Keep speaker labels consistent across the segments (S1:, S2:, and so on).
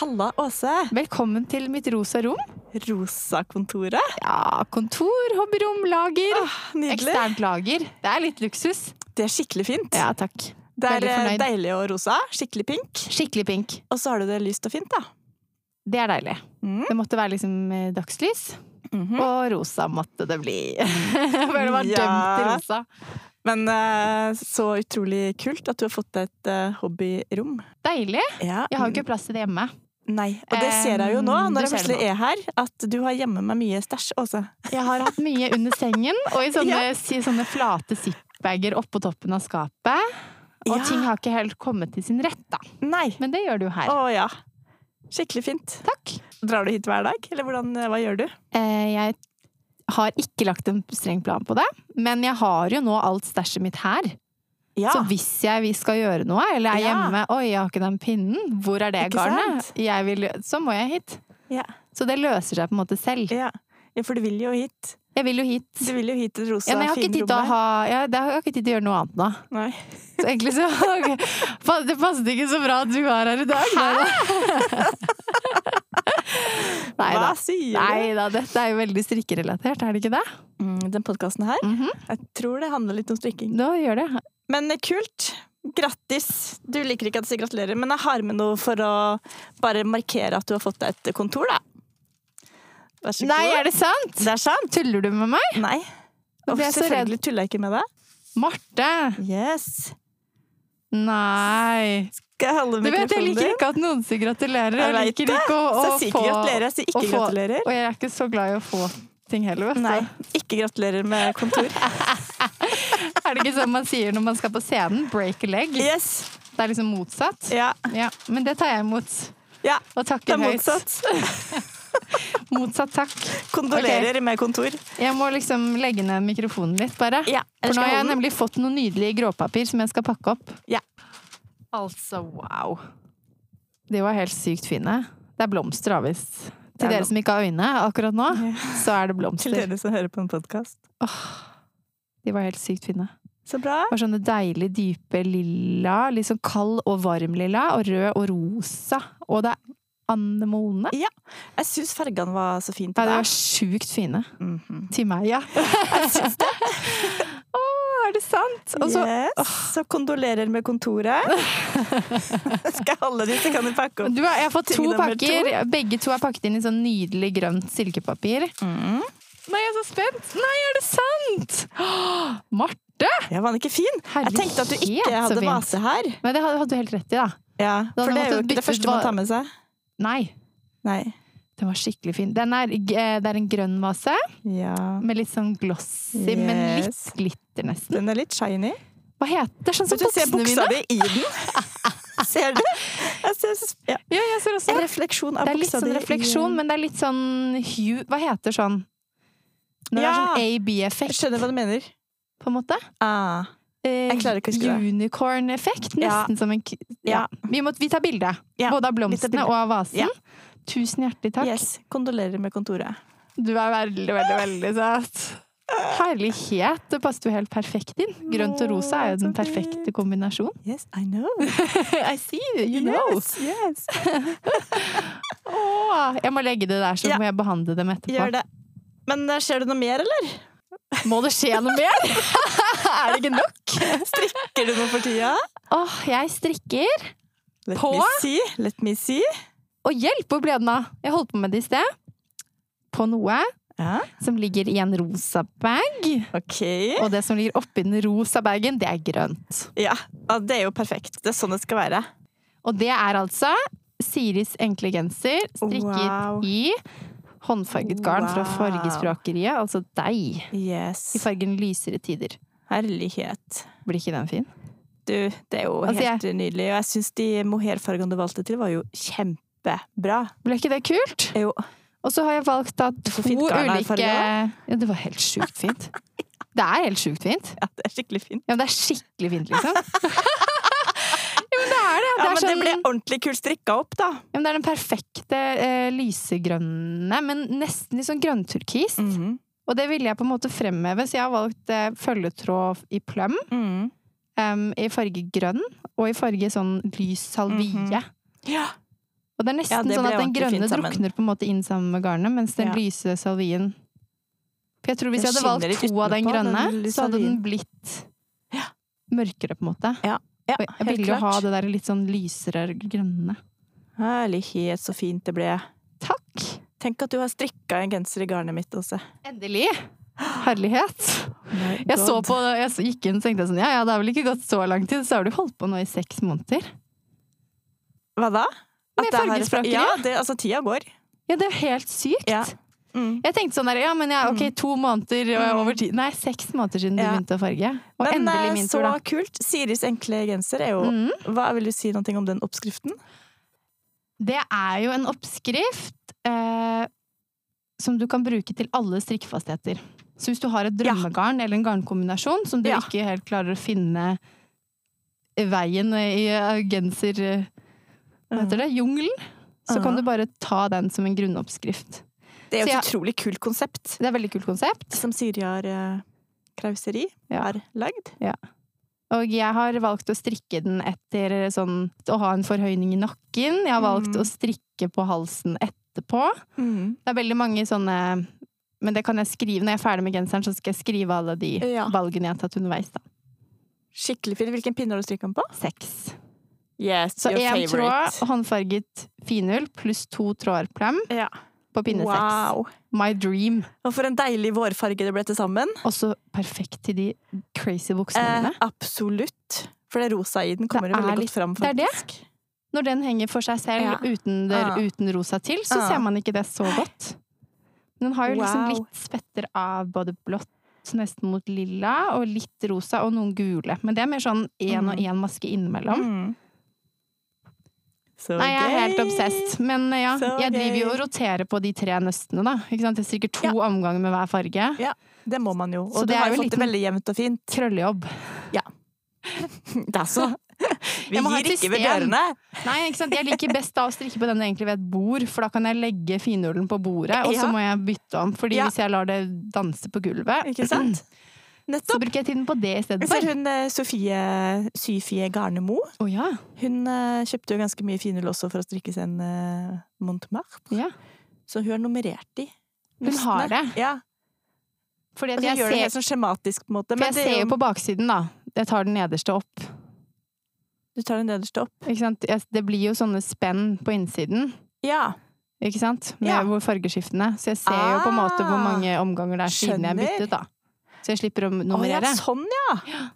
S1: Halla, Åse.
S2: Velkommen til mitt rosa rom.
S1: Rosakontoret.
S2: Ja, kontor, hobbyrom, lager.
S1: Ah, Nydelig.
S2: Eksternt lager. Det er litt luksus.
S1: Det er skikkelig fint.
S2: Ja, takk.
S1: det er
S2: veldig
S1: eh,
S2: fornøyd.
S1: deilig og rosa. Skikkelig pink.
S2: Skikkelig pink.
S1: Og så har du det lyst og fint, da.
S2: Det er deilig.
S1: Mm.
S2: Det måtte være liksom eh, dagslys,
S1: Mhm.
S2: og rosa måtte det bli. Jeg føler meg
S1: Ja.
S2: dømt til rosa.
S1: Men eh, så utrolig kult at du har fått deg et eh, hobbyrom.
S2: Deilig.
S1: Ja. mm,
S2: Jeg har jo ikke plass til det hjemme.
S1: Nei. Og det ser jeg jo nå,
S2: Em,
S1: når
S2: det
S1: jeg
S2: ser du
S1: plutselig er her, at du har hjemme meg mye stæsj, Åse.
S2: Jeg har hatt mye under sengen, og i sånne, si- sånne flate zipbager oppå toppen av skapet. Og
S1: Ja.
S2: ting har ikke helt kommet til sin rett, da.
S1: Nei.
S2: Men det gjør det jo her.
S1: Å ja. Skikkelig fint.
S2: Takk.
S1: Drar du hit hver dag, eller hvordan, hva gjør du?
S2: Eh, jeg har ikke lagt en streng plan på det, men jeg har jo nå alt stæsjet mitt her.
S1: Ja.
S2: Så hvis jeg vi skal gjøre noe, eller er
S1: Ja.
S2: hjemme Oi, jeg har ikke den pinnen. Hvor er det
S1: Ikke
S2: garnet?
S1: sant?
S2: Jeg vil, så må jeg hit.
S1: Ja.
S2: Så det løser seg på en måte selv.
S1: ja. ja, for du vil jo hit.
S2: Jeg vil jo hit.
S1: Du vil jo hit til det rosa,
S2: Ja, men jeg har ikke
S1: fine
S2: tid til å
S1: rommet.
S2: ha ja, det har Jeg har ikke tid til å gjøre noe annet nå.
S1: Nei.
S2: Så egentlig så ok. Fa- Det passet ikke så bra at du var her i dag. Hæ? Nei da.
S1: Hva sier du?
S2: Nei da, dette er jo veldig strikkerelatert, er det ikke det?
S1: Mm, den podkasten her.
S2: Mhm.
S1: Jeg tror det handler litt om strikking.
S2: Nå gjør det.
S1: Men eh, kult. Grattis. Du liker ikke at jeg sier gratulerer, men jeg har med noe for å bare markere at du har fått deg et kontor, da. Vær så
S2: Nei,
S1: god.
S2: er det sant?
S1: Det er sant.
S2: Tuller du med meg?
S1: Nei.
S2: Nå
S1: Og
S2: ble jeg så redd.
S1: selvfølgelig tuller jeg ikke med deg.
S2: Marte!
S1: Yes.
S2: Nei.
S1: Skal jeg holde
S2: Du vet, jeg
S1: mikrofonen
S2: liker
S1: din?
S2: ikke at noen sier gratulerer.
S1: Jeg
S2: Jeg
S1: vet
S2: liker ikke å,
S1: Så
S2: å
S1: jeg sier
S2: få
S1: ikke gratulerer,
S2: å
S1: jeg sier ikke
S2: få-
S1: gratulerer.
S2: Og jeg er ikke så glad i å få ting heller, vet du.
S1: Nei, ikke gratulerer med kontor.
S2: Er det ikke sånn man sier når man skal på scenen? Break a leg.
S1: Yes.
S2: Det er liksom motsatt.
S1: Ja.
S2: Ja, men det tar jeg imot.
S1: ja.
S2: Og
S1: Det
S2: takker
S1: er
S2: høyt.
S1: motsatt.
S2: Motsatt takk.
S1: Kondolerer med kontor.
S2: Jeg må liksom legge ned mikrofonen litt, bare.
S1: Ja,
S2: For nå
S1: ellers skal
S2: har
S1: jeg
S2: jeg
S1: holde den.
S2: nemlig fått noe nydelig gråpapir som jeg skal pakke opp.
S1: Ja.
S2: Altså, wow. De var helt sykt fine. Det er blomster, da, visst.
S1: Det
S2: Til
S1: er
S2: dere som ikke har øyne akkurat nå, så er det
S1: Til
S2: blomster.
S1: dere som hører på en podkast.
S2: De var helt sykt fine.
S1: Så bra.
S2: Det var sånne deilig dype lilla, litt sånn kald og varm lilla, og rød og rosa. Og det er anemone.
S1: Jeg syns fargene var så fint.
S2: Ja,
S1: i
S2: de
S1: dag.
S2: var sjukt fine.
S1: Mhm.
S2: Til meg, ja. Å, er det sant? Og så
S1: yes. så kondolerer med kontoret. Skal jeg holde de, så kan du pakke opp.
S2: du har, jeg har fått
S1: Ting
S2: to
S1: nummer to.
S2: pakker. Begge to er pakket inn i sånn nydelig grønt silkepapir.
S1: Mhm.
S2: Nei, jeg er så spent! Nei, er det sant?! Åh, Marte!
S1: Ja, var den ikke fin? Jeg tenkte at du ikke
S2: Herlighet, så
S1: hadde
S2: fint.
S1: vase her.
S2: Men det hadde hadde du helt rett i, da.
S1: Ja,
S2: Da hadde
S1: For det er jo
S2: måttet
S1: ikke det
S2: bytte ut
S1: første man
S2: va-
S1: tar med seg.
S2: Nei.
S1: Nei.
S2: Den var skikkelig fin. Den er, g- eh, det er en grønn vase
S1: Ja.
S2: med litt sånn glossy, men litt
S1: Yes.
S2: glitter, nesten.
S1: Den er litt shiny.
S2: Hva heter det? Sånn
S1: Så
S2: som
S1: du ser
S2: buksene
S1: buksa
S2: mine?
S1: di i den. Ser du? Jeg ser, ja.
S2: Ja, jeg ser også
S1: En
S2: det.
S1: refleksjon av
S2: Det er litt
S1: buksa di.
S2: sånn
S1: i-
S2: refleksjon, men det er litt sånn hue Hva heter sånn Når det er
S1: Ja.
S2: sånn
S1: Jeg
S2: AB-effekt,
S1: skjønner hva du mener.
S2: på en måte?
S1: Ah.
S2: Eh,
S1: Jeg klarer ikke å huske det.
S2: Unicorn-effekt,
S1: Ja.
S2: nesten som en k-
S1: Ja.
S2: Vi, må, vi tar bilde.
S1: Ja,
S2: Både av
S1: vi tar
S2: blomstene
S1: bilde.
S2: og av vasen.
S1: Ja.
S2: Tusen hjertelig takk.
S1: Yes. Kondolerer med kontoret.
S2: Du er veldig, veldig, veldig søt. Herlighet! Det passet jo helt perfekt inn. Grønt og rosa er jo den
S1: Åh, så fint.
S2: perfekte kombinasjonen.
S1: Yes, I know.
S2: I see, you
S1: Yes, yes.
S2: Åh, jeg må legge det der, så
S1: Ja.
S2: må jeg behandle dem etterpå.
S1: Gjør det. Men eh, ser du noe mer, eller?
S2: Må det skje noe mer? er det ikke nok?
S1: Strikker du noe for tida?
S2: Åh, jeg strikker.
S1: Let
S2: På?
S1: me see. Let me see.
S2: Og hjelp, hvor ble den av? Jeg holdt på med det i sted. På noe
S1: Ja.
S2: som ligger i en rosa bag.
S1: Ok.
S2: Og det som ligger oppi den rosa bagen, det er grønt.
S1: Ja. ja, det er jo perfekt. Det er sånn det skal være.
S2: Og det er altså Siris enkle genser strikket
S1: Wow.
S2: i håndfarget garn fra
S1: Wow.
S2: Fargespråkeriet, altså deg,
S1: Yes.
S2: i fargen lysere tider.
S1: Herlighet.
S2: Blir ikke den fin?
S1: Du, det er jo
S2: Altså,
S1: helt nydelig. Og jeg syns de mohairfargene du valgte til, var jo kjempebra.
S2: Ble ikke det kult?
S1: Jo.
S2: Og så har jeg valgt da to
S1: Så fint garn er i
S2: ulike
S1: fargen
S2: Ja, det var helt sjukt fint. Det er helt sjukt fint.
S1: Ja, det er skikkelig fint.
S2: Ja, men det er skikkelig fint, liksom. ja, men det er det.
S1: Ja,
S2: det, er
S1: men det
S2: sånn,
S1: ble ordentlig kult strikka opp, da.
S2: ja, men det er den perfekte eh, lysegrønne, men nesten litt sånn grønnturkist.
S1: Mhm.
S2: Og det ville jeg på en måte fremheve, så jeg har valgt eh, følgetråd i pløm,
S1: Mhm.
S2: em, i farge grønn, og i farge sånn lys salvie.
S1: Ja.
S2: Og det er nesten
S1: Mhm. Ja, det
S2: sånn
S1: ble
S2: at den
S1: ordentlig
S2: grønne
S1: fint sammen.
S2: drukner på en måte inn sammen med garnet, mens den
S1: Ja.
S2: lyse salvien For jeg tror hvis jeg
S1: Den
S2: hadde valgt
S1: skinner litt
S2: to av den
S1: utenpå,
S2: grønne,
S1: den lille
S2: så hadde den
S1: salvien.
S2: blitt mørkere, på en måte.
S1: Ja,
S2: Og jeg
S1: helt
S2: ville jo ha
S1: klart.
S2: det der litt sånn lysere grønne.
S1: Herlighet, så fint det ble.
S2: Takk!
S1: Tenk at du har strikka en genser i garnet mitt også.
S2: Endelig! Herlighet! Jeg så på, jeg så- gikk inn og tenkte sånn, ja ja, det har vel ikke gått så lang tid, så har du holdt på nå i seks måneder.
S1: Hva da? At
S2: Med
S1: det her-
S2: fargesprakeri,
S1: Ja,
S2: ja.
S1: det, altså tida går.
S2: Ja, det er jo helt sykt!
S1: Ja. Mm.
S2: Jeg tenkte sånn der, ja, men ja, ok, to måneder og
S1: Mm.
S2: over tid. Nei, seks måneder siden du
S1: Ja.
S2: begynte å farge. Og
S1: Men eh,
S2: endelig min
S1: så
S2: tur, da.
S1: kult. Siris enkle genser er jo
S2: Mm.
S1: Hva Vil du si noe om den oppskriften?
S2: Det er jo en oppskrift eh, som du kan bruke til alle strikkefastheter. Så hvis du har et
S1: Ja.
S2: drømmegarn eller en garnkombinasjon som du
S1: Ja.
S2: ikke helt klarer å finne veien i eh, genser... eh, Hva
S1: Eh,
S2: heter det? Jungelen? Så kan
S1: Mhm.
S2: du bare ta den som en grunnoppskrift.
S1: Det er jo
S2: Så
S1: et
S2: jeg-
S1: utrolig kult konsept
S2: Det er et veldig kult konsept.
S1: som Siri har eh, krauseri
S2: Ja.
S1: har lagd.
S2: Og jeg har valgt å strikke den etter sånn Å ha en forhøyning i nakken. Jeg har valgt
S1: Mm.
S2: å strikke på halsen etterpå. Det er veldig mange sånne Men det kan jeg skrive når jeg er ferdig med genseren, så skal jeg skrive alle de
S1: Ja.
S2: valgene jeg har tatt underveis. da.
S1: Skikkelig fin. Hvilken pinne har du strikka den på?
S2: Seks.
S1: Yes,
S2: Så én tråd håndfarget finull pluss to tråder plem
S1: Ja.
S2: på pinne seks.
S1: Wow.
S2: My dream.
S1: Og for en deilig vårfarge det ble til sammen.
S2: Også perfekt til de crazy buksene
S1: Eh,
S2: mine.
S1: absolutt. For det rosa i den kommer
S2: Det
S1: jo
S2: er
S1: veldig
S2: litt-
S1: godt fram,
S2: det er det.
S1: faktisk.
S2: Når den henger for seg selv
S1: Ja.
S2: uten, det,
S1: Ah.
S2: uten rosa til, så
S1: Ah.
S2: ser man ikke det så godt. Den har jo liksom
S1: Wow.
S2: litt spetter av både blått, nesten mot lilla, og litt rosa, og noen gule. Men det er mer sånn én og
S1: Mm.
S2: én maske innimellom.
S1: Mm. Så
S2: Nei, jeg er helt
S1: gøy.
S2: obsessed. Men eh, ja,
S1: Så
S2: jeg driver jo
S1: gøy.
S2: og roterer på de tre nøstene, da. Ikke sant? Jeg strikker to
S1: Ja.
S2: omganger med hver farge.
S1: Det må man jo.
S2: Så
S1: Og du
S2: det er
S1: har
S2: jo
S1: jo fått det
S2: liten-
S1: veldig jevnt og fint.
S2: Krøllejobb.
S1: Det er så. Vi
S2: Jeg må ha
S1: gir
S2: et
S1: ikke ved
S2: system.
S1: dørene.
S2: Nei, ikke sant? Jeg liker best da å strikke på den egentlig ved et bord, for da kan jeg legge finullen på bordet, og så
S1: Ja.
S2: må jeg bytte om. Fordi
S1: Ja.
S2: hvis jeg lar det danse på gulvet,
S1: Ikke sant?
S2: så
S1: Nettopp.
S2: bruker jeg tiden på det
S1: Jeg ser
S2: istedenfor.
S1: hun eh, Sofie Syfie Garnemo.
S2: Å ja.
S1: Hun eh, kjøpte jo ganske mye finull også for å strikke seg en eh, Montmartre.
S2: ja.
S1: Så hun har nummerert de.
S2: Hun har det.
S1: Ja.
S2: Fordi
S1: Og
S2: at
S1: hun
S2: jeg
S1: gjør det helt
S2: ser,
S1: sånn skjematisk på en måte.
S2: for jeg
S1: Men det
S2: ser
S1: er
S2: jo
S1: jo,
S2: på baksiden, da. Jeg tar den nederste opp.
S1: du tar den nederste opp.
S2: Ikke sant? Jeg- Det blir jo sånne spenn på innsiden.
S1: Ja.
S2: Ikke sant? Med
S1: Ja.
S2: hvor fargeskiftene. Så jeg ser jo på en måte hvor
S1: Ah.
S2: mange omganger det er siden jeg
S1: Skjønner.
S2: byttet, da. Så jeg slipper å
S1: Å ja,
S2: nummerere.
S1: sånn ja!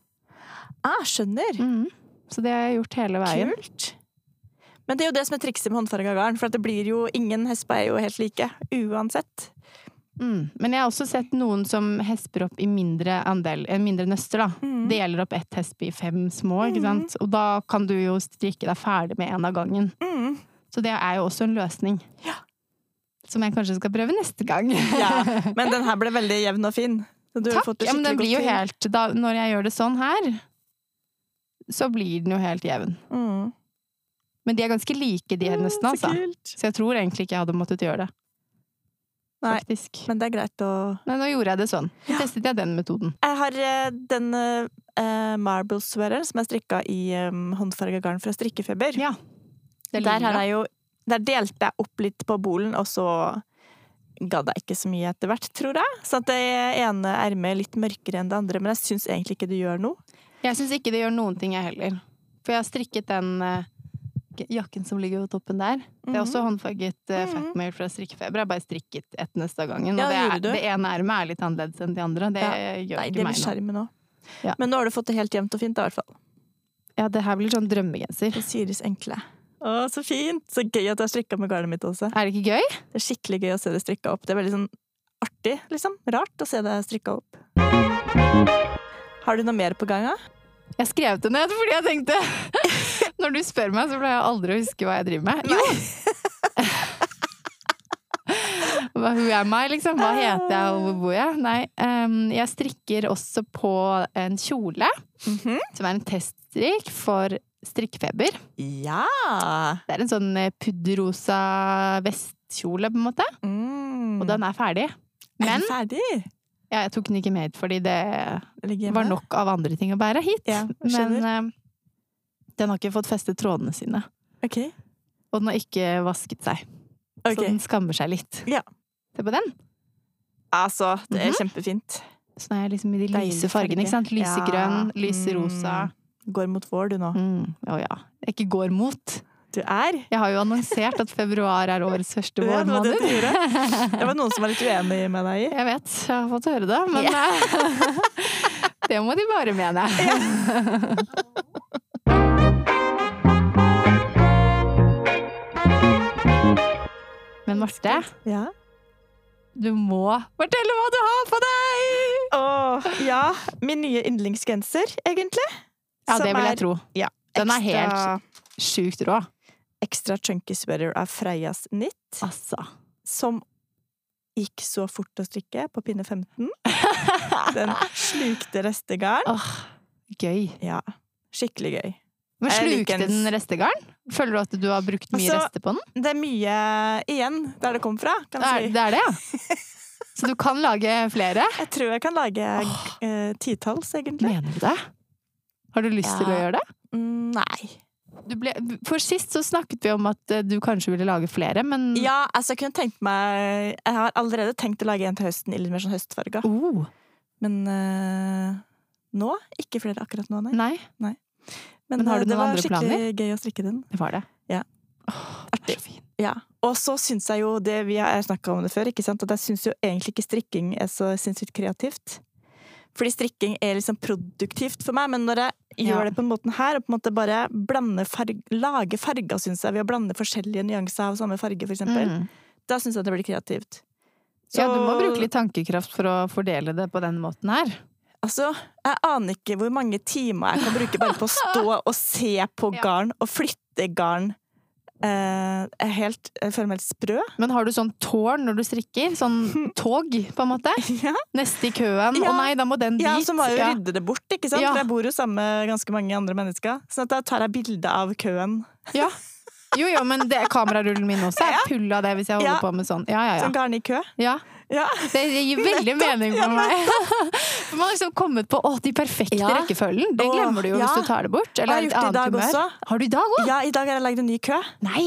S1: Ah, skjønner.
S2: Mhm. Så det har jeg gjort hele veien.
S1: Kult. Men det er jo det som er trikset med håndfarga garn, for at det blir jo ingen hesper er jo helt like. Uansett.
S2: Mm. Men jeg har også sett noen som hesper opp i mindre andel, eh, mindre nøster, da.
S1: Mm.
S2: Deler opp ett hespe i fem små,
S1: Mm.
S2: ikke sant. Og da kan du jo strikke deg ferdig med en av gangen.
S1: Mm.
S2: Så det er jo også en løsning.
S1: Ja.
S2: Som jeg kanskje skal prøve neste gang.
S1: Ja, men den her ble veldig jevn og fin. Så du har
S2: Takk!
S1: fått det
S2: Ja, men den
S1: skikkelig
S2: blir jo
S1: godt til.
S2: helt da, Når jeg gjør det sånn her, så blir den jo helt jevn.
S1: Mm.
S2: Men de er ganske like, de her nesten,
S1: Mm, så
S2: altså.
S1: kult.
S2: Så jeg tror egentlig ikke jeg hadde måttet gjøre det.
S1: Nei.
S2: Faktisk.
S1: Men det er greit å
S2: Men nå gjorde jeg det sånn. Så testet jeg den metoden.
S1: Jeg har eh, den eh, marble sweateren som er strikka i um, håndfarga garn fra strikkefeber.
S2: Ja. Det er
S1: der, har
S2: lilla.
S1: jeg jo, der delte jeg opp litt på bolen, og så gadd jeg ikke så mye etter hvert, tror jeg. Så at det ene ermet er litt mørkere enn det andre, men jeg syns egentlig ikke det gjør noe.
S2: Jeg syns ikke det gjør noen ting, jeg heller. For jeg har strikket den eh, jakken som ligger på toppen der. Det er også håndfarget eh,
S1: Mhm.
S2: fatmail fra strikkefeber. Jeg har bare strikket ett neste av gangen.
S1: Ja,
S2: og det,
S1: det
S2: er,
S1: gjorde du.
S2: det ene ermet er litt annerledes enn de andre. Det
S1: Ja.
S2: gjør
S1: Nei,
S2: ikke
S1: det
S2: meg
S1: blir
S2: noe.
S1: skjermen òg.
S2: Ja.
S1: Men nå har du fått det helt jevnt og fint, da, i hvert fall.
S2: Ja, det her blir sånn drømmegenser.
S1: På Siris enkle. Å, så fint! Så gøy at jeg har strikka med garnet mitt også.
S2: Er det ikke gøy?
S1: Det er skikkelig gøy å se det strikka opp. Det er veldig sånn artig, liksom. Rart å se det strikka opp. Har du noe mer på gang? da?
S2: Jeg skrev det ned fordi jeg tenkte Når du spør meg, så pleier jeg aldri å huske hva jeg driver med. Jo! Hva, who am I, liksom? Hva heter jeg, og hvor bor jeg? Nei, em, jeg strikker også på en kjole,
S1: Mhm.
S2: som er en teststrikk for strikkefeber.
S1: Ja!
S2: Det er en sånn eh, pudderrosa vestkjole, på en måte,
S1: Mm.
S2: og den er ferdig.
S1: Er
S2: Men
S1: den ferdig?
S2: ja, jeg tok den ikke med hit, fordi det
S1: Den Ligger
S2: Det
S1: hjemme.
S2: var nok av andre ting å bære hit.
S1: Ja,
S2: men
S1: skjønner.
S2: eh, den har ikke fått festet trådene sine.
S1: Ok.
S2: Og den har ikke vasket seg.
S1: Ok.
S2: Så den skammer seg litt.
S1: Ja.
S2: Se på den.
S1: Altså, det er
S2: Mhm.
S1: kjempefint.
S2: Så den er liksom i de
S1: Deilig
S2: lyse fargene.
S1: farge.
S2: ikke sant? Lysegrønn,
S1: Ja. Mm.
S2: lyserosa.
S1: Går mot vår, du nå.
S2: Å mm. Å ja. Jeg ikke går mot.
S1: Du er
S2: Jeg har jo annonsert at februar er årets første
S1: Ja, det var det
S2: vårmåned.
S1: du gjorde. Det var noen som var litt uenig med deg i.
S2: Jeg vet, jeg har fått høre det, men det må de bare mene. men Marte,
S1: Ja.
S2: du må fortelle hva du har på deg!
S1: Åh, ja. Min nye yndlingsgenser, egentlig.
S2: Ja,
S1: Som
S2: det vil jeg tro.
S1: ja,
S2: Den er
S1: ekstra-
S2: Sjukt rå.
S1: Ekstra chunky sweater av Freias Knit,
S2: Altså.
S1: som gikk så fort å strikke på pinne 15. Den slukte restegarn.
S2: Åh, gøy.
S1: Ja, skikkelig gøy.
S2: Men
S1: Jeg liker
S2: slukte
S1: den.
S2: den restegarn? Føler du at du har brukt mye
S1: Altså,
S2: rester på den?
S1: Det er mye igjen der det kom fra, kan
S2: Det er
S1: jeg si.
S2: det, er det ja. Så du kan lage flere?
S1: Jeg tror jeg kan lage eh, titalls, egentlig.
S2: Mener du det? Har du lyst til å
S1: Ja.
S2: gjøre det?
S1: Mm, Nei.
S2: Du ble, for sist så snakket vi om at eh, du kanskje ville lage flere, men
S1: Ja, altså jeg kunne tenkt meg Jeg har allerede tenkt å lage en til høsten i litt mer sånn høstfarga.
S2: oh,
S1: Men eh, nå? Ikke flere akkurat nå, nei.
S2: Nei, men har
S1: eh,
S2: du
S1: det
S2: noen
S1: var
S2: andre
S1: skikkelig gøy å strikke den.
S2: det var det.
S1: Ja.
S2: Åh, det er så fint.
S1: Ja. Og så syns jeg jo det Vi har snakka om det før, ikke sant? at jeg syns jo egentlig ikke strikking er så sinnssykt kreativt. Fordi strikking er liksom produktivt for meg, men når jeg
S2: Ja.
S1: gjør det på den måten her, og på en måte bare blander farg, lager farger, syns jeg, ved å blande forskjellige nyanser av samme farge, for eksempel,
S2: Mm.
S1: da syns jeg det blir kreativt.
S2: Ja, du må
S1: Så-
S2: bruke litt tankekraft for å fordele det på den måten her.
S1: Altså, jeg aner ikke hvor mange timer jeg kan bruke bare på å stå og se på
S2: Ja.
S1: garn og flytte garn. Eh, jeg, er helt, jeg føler meg helt sprø.
S2: Men har du sånn tårn når du strikker? Sånn tog, på en måte?
S1: Ja,
S2: Neste i køen. Å
S1: Ja.
S2: nei, da må den dit.
S1: Som var jo
S2: Ja.
S1: rydde det bort, ikke sant?
S2: Ja.
S1: For jeg bor jo sammen med ganske mange andre mennesker. Så da tar jeg bilde av køen.
S2: Ja. Jo, jo, men det, kamerarullen min også er full av det hvis jeg holder
S1: Ja.
S2: på med sånn. Ja, ja,
S1: Sånn garn i kø.
S2: ja. ja.
S1: Ja.
S2: Det gir veldig mening for meg. For man har liksom kommet på å, de perfekte
S1: Ja.
S2: rekkefølgen. Det
S1: Åh,
S2: glemmer du jo
S1: ja.
S2: hvis du tar det bort.
S1: Jeg har
S2: Eller et
S1: gjort det i
S2: annet
S1: dag
S2: humør.
S1: også.
S2: Har du i dag òg?
S1: Ja, i dag har jeg lagd en ny kø.
S2: Nei!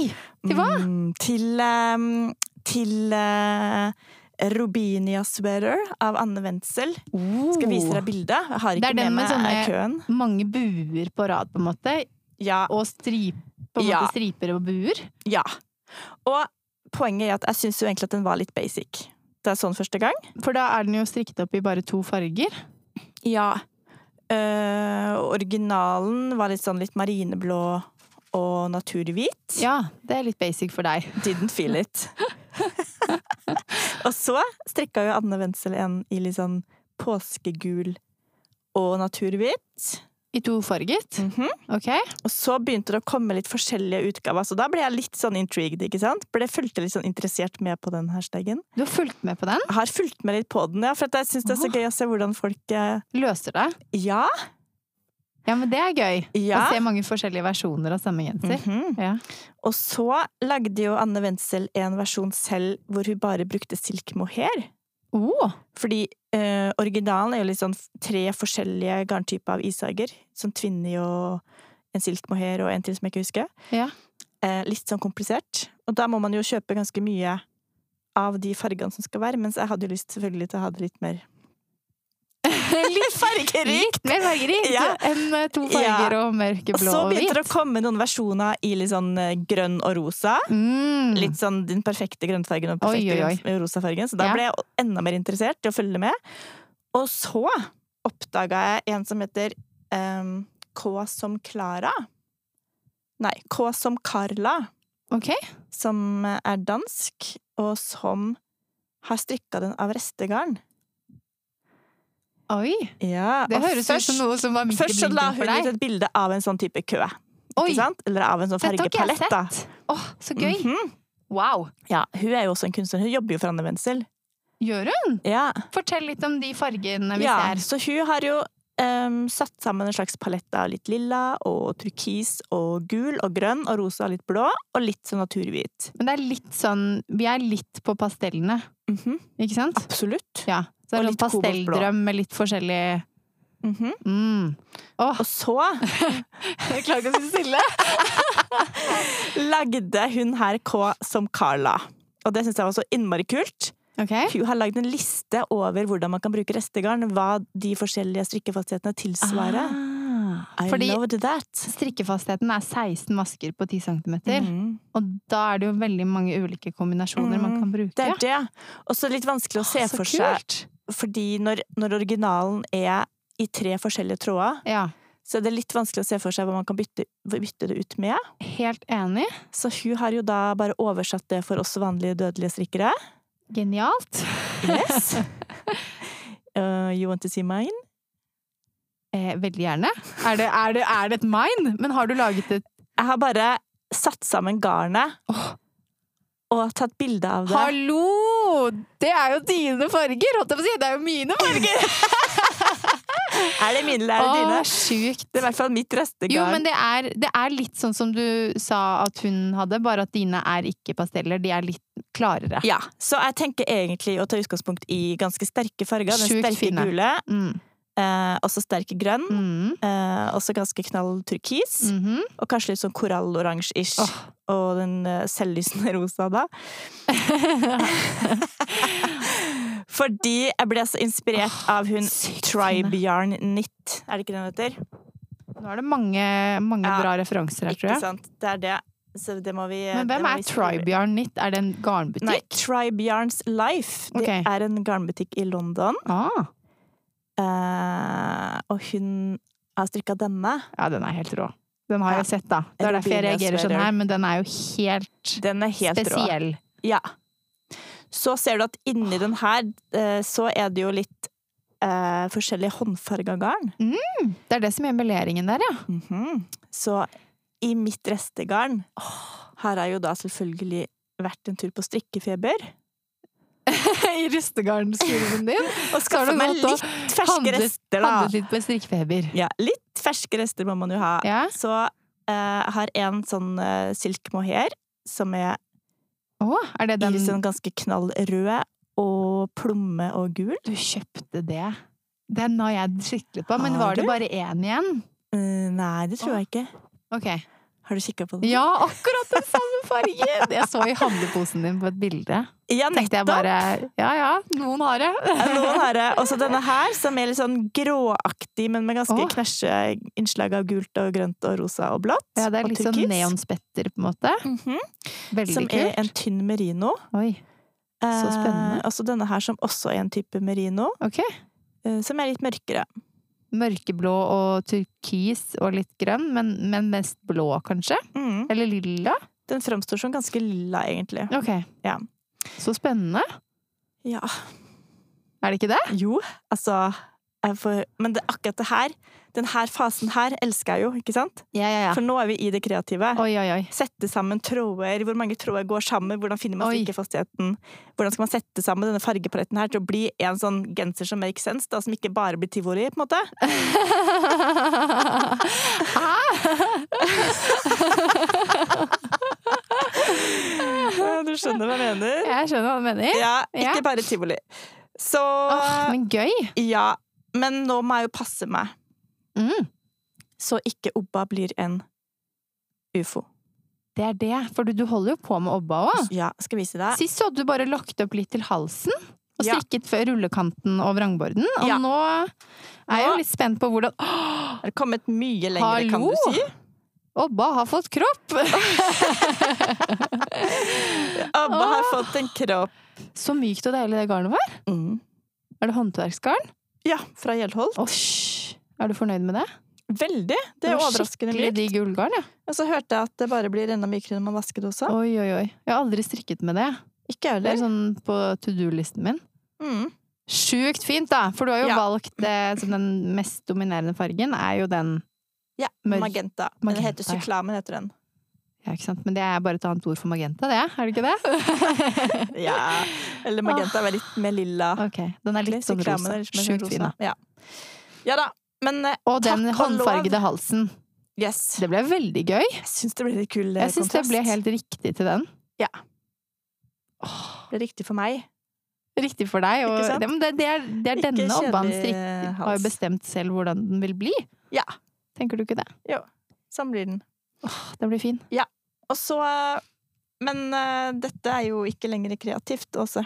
S2: Til hva?
S1: Mm, til eh, til eh, Robinia Sweater av Anne Wendsel. Skal vise deg bildet. Jeg har
S2: Det er
S1: ikke med
S2: den med
S1: meg
S2: sånne-
S1: køen.
S2: Oh. Mange buer på rad, på en måte.
S1: Ja,
S2: Og strip, på en
S1: Ja.
S2: måte striper og buer.
S1: Ja. Og poenget er at jeg syns jo egentlig at den var litt basic. Det er sånn første gang.
S2: For da er den jo strikket opp i bare to farger.
S1: Ja. Eh, originalen var litt sånn litt marineblå og naturhvit.
S2: Ja, det er litt basic for deg.
S1: Didn't feel it. og så strikka jo Anne Wendsel en i litt sånn påskegul og naturhvit.
S2: I to farget.
S1: Mhm.
S2: Ok?
S1: Og så begynte det å komme litt forskjellige utgaver, så da ble jeg litt sånn intrigued, ikke sant? Ble fulgte litt sånn interessert med på den hashtagen.
S2: Du har fulgt med på den.
S1: Jeg har fulgt med litt på den, ja, for at jeg syns det er så gøy å se hvordan folk eh,
S2: Løser det.
S1: Ja.
S2: Ja, men det er gøy.
S1: ja.
S2: Å se mange forskjellige versjoner av samme genser.
S1: Mhm.
S2: Ja.
S1: Og så lagde jo Anne Wendsel en versjon selv hvor hun bare brukte silk mohair. Mm.
S2: Oh,
S1: Fordi eh, originalen er jo litt sånn f- tre forskjellige garntyper av ishager. Sånn tvinni og en silk mohair og en til som jeg ikke husker.
S2: Ja.
S1: Eh, litt sånn komplisert. Og da må man jo kjøpe ganske mye av de fargene som skal være, mens jeg hadde jo lyst selvfølgelig til å ha det litt mer
S2: litt
S1: fargerikt!
S2: Litt mer fargerikt
S1: Ja.
S2: enn eh, to farger og
S1: Og
S2: mørkeblå
S1: så
S2: og hvit.
S1: begynte det å komme noen versjoner i litt sånn eh, grønn og rosa.
S2: Mm.
S1: Litt sånn den perfekte grønnfargen og den
S2: Oi,
S1: perfekte
S2: oi, oi.
S1: grønn- rosa fargen. Så da
S2: Ja.
S1: ble jeg enda mer interessert i å følge med. Og så oppdaga jeg en som heter em, K som Klara. Nei, K som Carla,
S2: Ok.
S1: som eh, er dansk, og som har strikka den av restegarn.
S2: Oi.
S1: Ja,
S2: Det
S1: og
S2: høres ut som
S1: først-
S2: noe som var midt i
S1: Først så la
S2: blinken
S1: hun
S2: for
S1: ut
S2: deg.
S1: et bilde av en sånn type kø.
S2: Oi.
S1: Ikke sant? Eller av en sånn
S2: Dette har ikke jeg
S1: fargepalett. da.
S2: sett. Åh, så gøy.
S1: Mhm.
S2: Wow.
S1: Ja, hun er jo også en kunstner. Hun jobber jo for Anne Wendsel.
S2: Gjør hun?
S1: Ja.
S2: Fortell litt om de fargene vi
S1: ja,
S2: ser.
S1: så hun har jo em, satt sammen en slags palett av litt lilla og turkis og gul og grønn og rosa og litt blå og litt sånn naturhvit.
S2: Men det er litt sånn Vi er litt på pastellene,
S1: Mhm,
S2: ikke sant?
S1: Absolutt.
S2: Ja. Så det
S1: Og
S2: er sånn
S1: litt koboltblå.
S2: pastelldrøm med litt forskjellig
S1: Mhm.
S2: mm. Åh,
S1: Og så
S2: jeg klarer ikke å sitte stille.
S1: lagde hun her K som Carla. Og det syns jeg var så innmari kult.
S2: Ok.
S1: Hun har lagd en liste over hvordan man kan bruke restegarn. Hva de forskjellige strikkefastighetene tilsvarer. I
S2: Ah. Fordi
S1: loved that.
S2: strikkefastheten er 16 masker på 10 cm.
S1: Mm.
S2: Og da er det jo veldig mange ulike kombinasjoner man kan bruke.
S1: Det er det. Og så litt vanskelig å se
S2: Å, så
S1: for seg,
S2: kult.
S1: fordi når, når originalen er i tre forskjellige tråder,
S2: Ja.
S1: så er det litt vanskelig å se for seg hva man kan bytte, bytte det ut med.
S2: Helt enig.
S1: Så hun har jo da bare oversatt det for oss vanlige dødelige strikkere.
S2: Genialt.
S1: Yes. Uh, you want to see mine?
S2: Eh, veldig gjerne. Er det, er, det, er det et mine? Men har du laget et
S1: Jeg har bare satt sammen garnet
S2: Åh.
S1: og tatt bilde av det.
S2: Hallo! Det er jo dine farger! Holdt jeg på å si. Det er jo mine farger!
S1: Er det mine eller er det dine?
S2: Å, sjukt.
S1: Det er i hvert fall mitt restegarn.
S2: Jo, men det er, det er litt sånn som du sa at hun hadde, bare at dine er ikke pasteller. De er litt klarere.
S1: Ja, Så jeg tenker egentlig å ta utgangspunkt i ganske sterke farger. Den
S2: Sjukt
S1: sterke
S2: fine.
S1: gule,
S2: Mm.
S1: eh, også sterk grønn,
S2: Mm.
S1: eh, også ganske knall turkis,
S2: Mhm.
S1: og kanskje litt sånn koralloransje-ish.
S2: Åh.
S1: Og den eh, selvlysende rosa, da. Fordi jeg ble så inspirert av hun
S2: sykt fine.
S1: Tribe Yarn Knit. Er det ikke den heter?
S2: Nå er det mange, mange
S1: Ja.
S2: bra referanser her, tror
S1: Ikke
S2: jeg.
S1: sant? Det er det. Så det må vi
S2: Men hvem er Tribe Yarn Knit? Er det en garnbutikk?
S1: Nei, Tribe Yarns Life. Det
S2: Ok.
S1: er en garnbutikk i London.
S2: Ah,
S1: Eh, og hun har strikka denne.
S2: ja, den er helt rå. Den har
S1: Ja.
S2: jeg sett, da. Det er derfor jeg
S1: Rubinus
S2: reagerer sånn
S1: sweater.
S2: her, men den er jo helt,
S1: Den er helt rå.
S2: spesiell.
S1: Ja. Så ser du at inni den her, eh, så er det jo litt eh, forskjellig håndfarga garn.
S2: Det er det som gjør meleringen der, ja.
S1: Mhm. Så i mitt restegarn har jeg jo da selvfølgelig vært en tur på strikkefeber.
S2: I rystegarnskurven din.
S1: Og
S2: Så har
S1: skaffa
S2: du
S1: meg
S2: gått og
S1: litt ferske
S2: handlet-
S1: rester, da.
S2: Handlet litt på strikkefeber.
S1: Ja, litt ferske rester må man jo ha.
S2: Ja.
S1: Så eh, jeg har en sånn uh, silk mohair som er
S2: Å, er det den
S1: i sånn ganske knallrød og plomme og gul.
S2: Du kjøpte det? Den har jeg skikkelig på, men var
S1: Har
S2: det
S1: du?
S2: bare én igjen?
S1: Eh, nei, det tror jeg ikke.
S2: Ok.
S1: Har du kikka på den?
S2: Ja, akkurat den samme fargen! Jeg så i handleposen din på et bilde.
S1: Ja,
S2: Tenkte jeg bare Ja ja, noen har det.
S1: Ja, Noen har det. Også denne her, som er litt sånn gråaktig, men med ganske
S2: Åh.
S1: knæsje innslag av gult og grønt og rosa og blått.
S2: Ja, det er
S1: og
S2: litt sånn
S1: turkis.
S2: neonspetter, på en måte.
S1: Mhm.
S2: Veldig
S1: Som er en
S2: kult.
S1: tynn merino.
S2: Oi. Så spennende.
S1: Eh, også denne her, som også er en type merino,
S2: Ok.
S1: eh, som er litt mørkere.
S2: Mørkeblå og turkis og litt grønn, men, men mest blå, kanskje?
S1: Mm.
S2: Eller lilla?
S1: Den framstår som ganske lilla, egentlig.
S2: Ok.
S1: Ja.
S2: Så spennende.
S1: Ja.
S2: Er det ikke det?
S1: Jo, altså jeg får, Men det, akkurat det her, den her fasen her, elsker jeg jo, ikke sant?
S2: Ja, ja,
S1: For nå er vi i det kreative.
S2: Oi, oi, oi.
S1: Sette sammen tråder, hvor mange tråder går sammen, hvordan finner man
S2: Oi.
S1: strikkefastheten? Hvordan skal man sette sammen denne fargepaletten her til å bli en sånn genser som makes sense, da, som ikke bare blir tivoli, på en
S2: Ah,
S1: måte? Ja, Du skjønner hva jeg mener?
S2: Jeg skjønner hva du mener.
S1: Ja,
S2: Ja.
S1: ikke bare tivoli. Så
S2: Åh, men gøy!
S1: ja. Men nå må jeg jo passe meg,
S2: Mm,
S1: så ikke Obba blir en ufo.
S2: det er det. For du, du holder jo på med obba òg.
S1: Ja, skal jeg vise deg.
S2: Sist så hadde du bare lagt opp litt til halsen. Og
S1: Ja.
S2: strikket før rullekanten og vrangborden. Og
S1: Ja.
S2: nå er jeg jo
S1: Nå-
S2: litt spent på hvordan Åh,
S1: Det har kommet mye lenger, kan
S2: Hallo?
S1: du si.
S2: Obba har fått kropp!
S1: Abba har
S2: Åh.
S1: fått en kropp.
S2: Så mykt og deilig det garnet var. Er det håndverksgarn?
S1: Ja, fra Gjeldholt.
S2: Åsj! Er du fornøyd med det?
S1: Veldig. Det er
S2: var
S1: overraskende
S2: Skikkelig
S1: mykt.
S2: digg ullgarn, ja.
S1: Og så hørte jeg at det bare blir enda mykere når man vasker det også.
S2: Oi, oi, oi. Jeg har aldri strikket med det.
S1: Ikke jeg
S2: Det er
S1: heller.
S2: sånn på to do-listen min.
S1: Mm.
S2: Sjukt fint, da! For du har jo
S1: Ja.
S2: valgt eh, som den mest dominerende fargen, er jo den
S1: Ja,
S2: mørk-
S1: Magenta. Men det
S2: Magenta,
S1: heter
S2: ja.
S1: syklamen, heter den.
S2: Ja, ikke sant? Men det er bare et annet ord for magenta, det? Er det ikke det?
S1: Ja. Eller magenta er litt mer lilla.
S2: ok. Den er Ah. litt sånn
S1: Syklamen
S2: rosa.
S1: er litt mer
S2: Sjukt
S1: rosa.
S2: fin, da.
S1: Ja. ja da. Men eh,
S2: Og den
S1: Takk og lov.
S2: håndfargede halsen.
S1: yes,
S2: Det ble veldig gøy.
S1: jeg syns det ble litt kul eh,
S2: Jeg syns det
S1: kontrast.
S2: ble helt riktig til den.
S1: Ja.
S2: Åh,
S1: Det er riktig for meg.
S2: riktig for deg. Og
S1: Ikke sant?
S2: det, men det, det er, det er
S1: Ikke
S2: denne obbaen
S1: kjedelig
S2: strikker. Har
S1: hals.
S2: jo bestemt selv hvordan den vil bli.
S1: Ja.
S2: Tenker du ikke det?
S1: Sånn blir den.
S2: Åh, den blir fin.
S1: Og så Men eh, dette er jo ikke lenger kreativt, Åse.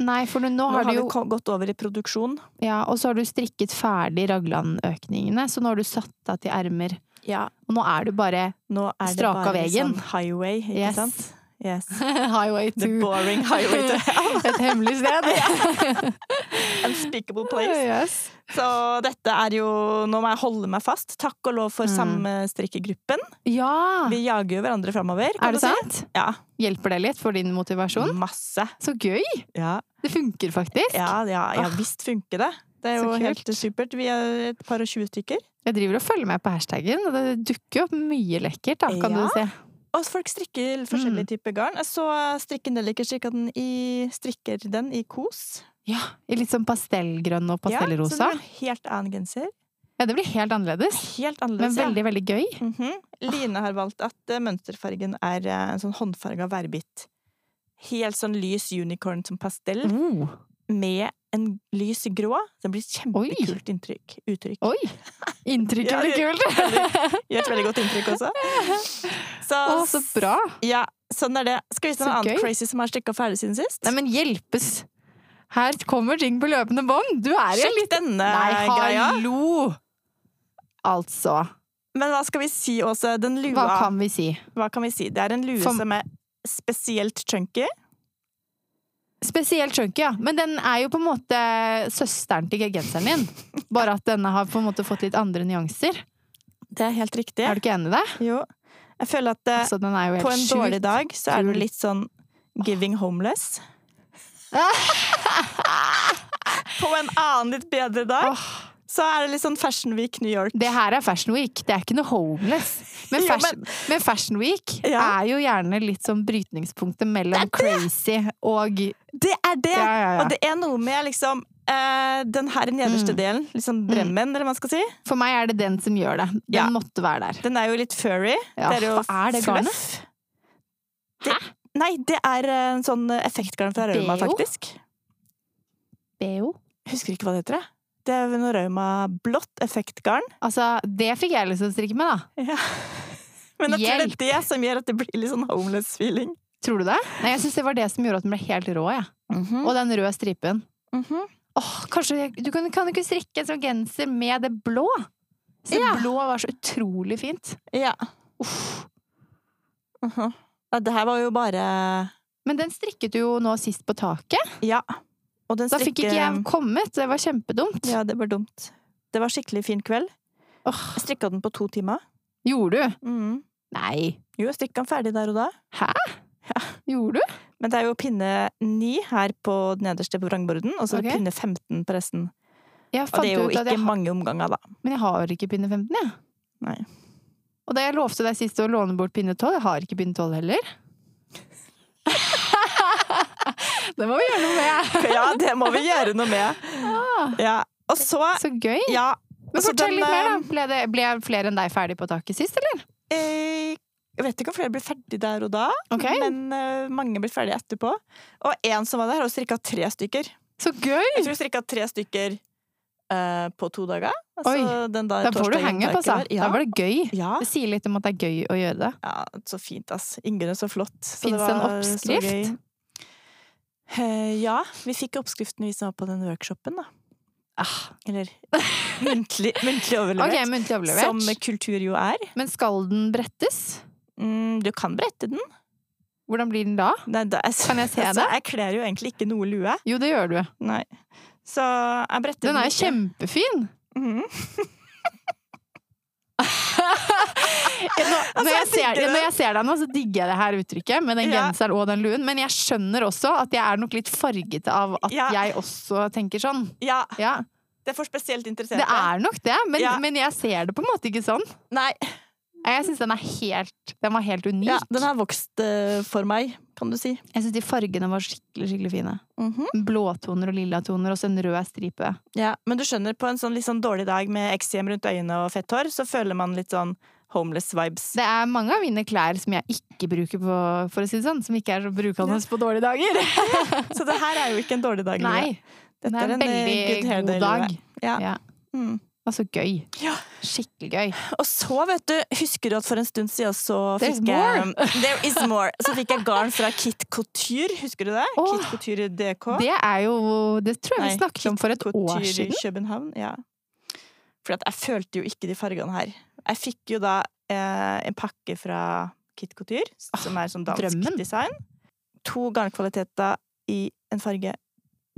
S2: Nei, for nå,
S1: Nå
S2: har
S1: har
S2: du
S1: vi
S2: jo
S1: ko- gått over i produksjon.
S2: Ja, og så har du strikket ferdig raglanøkningene, så nå har du satt av til ermer.
S1: Ja.
S2: Og nå er du bare
S1: Nå er det
S2: Straka
S1: bare
S2: veggen.
S1: sånn highway, ikke
S2: Yes.
S1: sant? Yes.
S2: Highway
S1: The
S2: to
S1: boring highway to hell.
S2: Et hemmelig sted.
S1: Unspeakable place.
S2: yes.
S1: Så dette er jo Nå må jeg holde meg fast. Takk og lov for
S2: Mm.
S1: samstrikkegruppen.
S2: Ja!
S1: Vi jager jo hverandre framover.
S2: Er det sant?
S1: Ja.
S2: Hjelper det litt for din motivasjon?
S1: Masse.
S2: Så gøy!
S1: Ja,
S2: Det funker faktisk.
S1: ja, ja, ja
S2: Ah.
S1: visst funker det. Det
S2: Så
S1: er jo
S2: kult.
S1: helt supert. Vi er et par og tjue stykker.
S2: Jeg driver og følger med på hashtaggen, og det dukker jo opp mye lekkert, da, kan
S1: Ja.
S2: du se.
S1: Og folk strikker
S2: Mm.
S1: forskjellige typer garn. Jeg så strikken deliker strikka den i strikker den i kos.
S2: Ja, I litt sånn pastellgrønn og
S1: Ja, så
S2: pastellrosa.
S1: det blir en helt annen genser.
S2: Ja, det blir helt annerledes,
S1: Helt
S2: men
S1: annerledes. ja.
S2: veldig, veldig gøy.
S1: Mhm. Line har valgt at eh, mønsterfargen er eh, en sånn håndfarga værbit. Helt sånn lys unicorn som pastell,
S2: Oh.
S1: med en lys grå. Det blir et kjempekult inntrykk. Uttrykk.
S2: Oh. Oi! Inntrykket
S1: Ja,
S2: blir kult!
S1: Gjør et veldig godt inntrykk også. Så,
S2: Å, så bra!
S1: Ja, sånn er det. Skal vi se noe
S2: Så
S1: annet
S2: gøy.
S1: crazy som har strikka ferdig siden sist?
S2: Nei, men hjelpes! Her kommer ting på løpende bånd! Du er i en
S1: Sjekk
S2: liten
S1: denne
S2: Nei,
S1: greia.
S2: hallo! Altså,
S1: Men hva skal vi si, Åse? Den lua.
S2: hva kan vi si?
S1: hva kan vi si? Det er en lue
S2: For-
S1: som er spesielt chunky.
S2: Spesielt chunky, ja. Men den er jo på en måte søsteren til genseren din. Bare at denne har på en måte fått litt andre nyanser.
S1: Det er helt riktig.
S2: Er du ikke enig i det?
S1: Jo. Jeg føler at eh,
S2: Så den er jo
S1: på en
S2: helt sjukt.
S1: dårlig dag så er
S2: kul.
S1: du litt sånn giving homeless. på en annen litt bedre dag
S2: Åh,
S1: så er det litt sånn Fashion Week New York.
S2: det her er Fashion Week, det er ikke noe homeless. Men
S1: Jo,
S2: Fashion, men fashion Week
S1: Ja.
S2: er jo gjerne litt sånn brytningspunktet mellom crazy og
S1: Det er det!
S2: Ja, ja, ja.
S1: Og det er noe med liksom eh, den her nederste
S2: Mm.
S1: delen, liksom bremmen, eller hva man skal si.
S2: For meg er det den som gjør det. Den
S1: Ja.
S2: måtte være der.
S1: Den er jo litt furry.
S2: Ja,
S1: det er jo
S2: hva er det garnet?
S1: fluff. Det, nei, det er eh, en sånn effektgarn fra Rauma,
S2: Deo?
S1: faktisk.
S2: BO.
S1: Husker ikke hva det heter. jeg. Det er noe Rauma blått effektgarn.
S2: Altså, det fikk jeg lyst til å strikke med, da.
S1: Ja. Men jeg tror
S2: Hjelp.
S1: det er det som gjør at det blir litt sånn homeless feeling.
S2: Tror du det? Nei, jeg syns det var det som gjorde at den ble helt rå, jeg.
S1: Mm.
S2: Og den røde stripen. mhm. Åh, kanskje jeg- Du kan, kan du ikke strikke en sånn genser med det blå? Så
S1: Ja.
S2: blå var så utrolig fint.
S1: Ja.
S2: Uff.
S1: Mhm. ja. Det her var jo bare
S2: Men den strikket du jo nå sist på taket.
S1: Ja. Og den
S2: Da fikk ikke jeg kommet. Det var kjempedumt.
S1: Ja, det var dumt. Det var skikkelig fin kveld.
S2: Åh,
S1: Jeg strikka den på to timer. Mhm.
S2: gjorde du? Nei.
S1: Jo, jeg strikka den ferdig der og da.
S2: Gjorde du?
S1: Men det er jo pinne ni her på den nederste på vrangborden, og så er det
S2: Ok.
S1: pinne 15 på resten.
S2: Jeg
S1: Og
S2: fant
S1: det er jo
S2: ut at
S1: ikke
S2: jeg har
S1: mange omganger, da.
S2: Men jeg har ikke pinne 15, jeg.
S1: Nei.
S2: Og da jeg lovte deg sist å låne bort pinne 12, jeg har ikke pinne 12 heller. det må vi gjøre noe med.
S1: Ja, det må vi gjøre noe med.
S2: Ah,
S1: Ja. Og så
S2: så gøy.
S1: Ja.
S2: Men
S1: så
S2: fortell
S1: Altså, den,
S2: litt mer, da. Ble, det, ble flere enn deg ferdig på taket sist, eller?
S1: eh, Jeg vet ikke om flere blir ferdig der og da,
S2: Ok.
S1: men eh, mange blir ferdig etterpå. Og en som var der, har strikka tre stykker.
S2: Så gøy!
S1: Jeg tror jeg strikka tre stykker eh, på to dager.
S2: Oi,
S1: den da
S2: Da får du
S1: torsdagen
S2: henge
S1: taket
S2: på, altså.
S1: var- Ja.
S2: Da var det gøy.
S1: ja.
S2: Det sier litt om at det er gøy å gjøre det.
S1: ja, så fint, ass. Ingunn er så flott. Så
S2: Fins det en
S1: var så
S2: oppskrift?
S1: gøy. Eh, ja, vi fikk oppskriften vi som var på den workshopen, da.
S2: Ah,
S1: Eller muntlig, muntlig
S2: ok,
S1: overlevert.
S2: muntlig
S1: Som
S2: overlevert.
S1: kultur jo er.
S2: Men skal den brettes?
S1: Mm, du kan brette den.
S2: Hvordan blir den da?
S1: Nei, da,
S2: Kan jeg se
S1: altså,
S2: det?
S1: jeg kler jo egentlig ikke noe lue.
S2: Jo, det gjør du.
S1: Nei. Så jeg bretter
S2: Den er jo
S1: ikke.
S2: kjempefin!
S1: Mhm.
S2: Ja, nå, når, Altså, jeg
S1: Altså, jeg
S2: ser,
S1: digger
S2: når jeg ser deg nå, så digger jeg det her uttrykket med den
S1: Ja.
S2: genseren og den luen. Men jeg skjønner også at jeg er nok litt farget av at
S1: Ja.
S2: jeg også tenker sånn.
S1: Ja,
S2: Ja,
S1: det er for spesielt interesserte.
S2: Det er nok det, men,
S1: Ja.
S2: men jeg ser det på en måte ikke sånn.
S1: Nei,
S2: Jeg syns den er helt Den var helt unik.
S1: ja, den har vokst eh, for meg, kan du si.
S2: Jeg syns de fargene var skikkelig skikkelig fine.
S1: Mhm.
S2: Mm. Blåtoner og lillatoner og så en rød stripe.
S1: ja, men du skjønner, på en sånn litt sånn dårlig dag med eksem rundt øynene og fett hår, så føler man litt sånn homeless vibes.
S2: Det er mange av mine klær som jeg ikke bruker på, for å si det sånn, som ikke er så brukende på dårlige dager.
S1: Så det her er jo ikke en dårlig dag. Lua.
S2: Nei.
S1: Dette
S2: Det er en
S1: eh,
S2: veldig
S1: hair
S2: god
S1: day, Lua.
S2: dag.
S1: Ja.
S2: Ja.
S1: Mm.
S2: Det var så gøy.
S1: Ja.
S2: Skikkelig gøy.
S1: Og så, vet du, husker du at for en stund siden så
S2: There's
S1: fikk jeg
S2: more.
S1: There is more! Så fikk jeg garn fra Kit Couture, husker du det?
S2: Åh.
S1: Kit Couture DK.
S2: Det er jo Det tror jeg
S1: Nei,
S2: vi snakket om for et år
S1: Couture
S2: siden.
S1: i København, ja. For at jeg følte jo ikke de fargene her. Jeg fikk jo da eh, en pakke fra Kit Couture, som er sånn dansk
S2: Ah, drømmen.
S1: design. To garnkvaliteter i en farge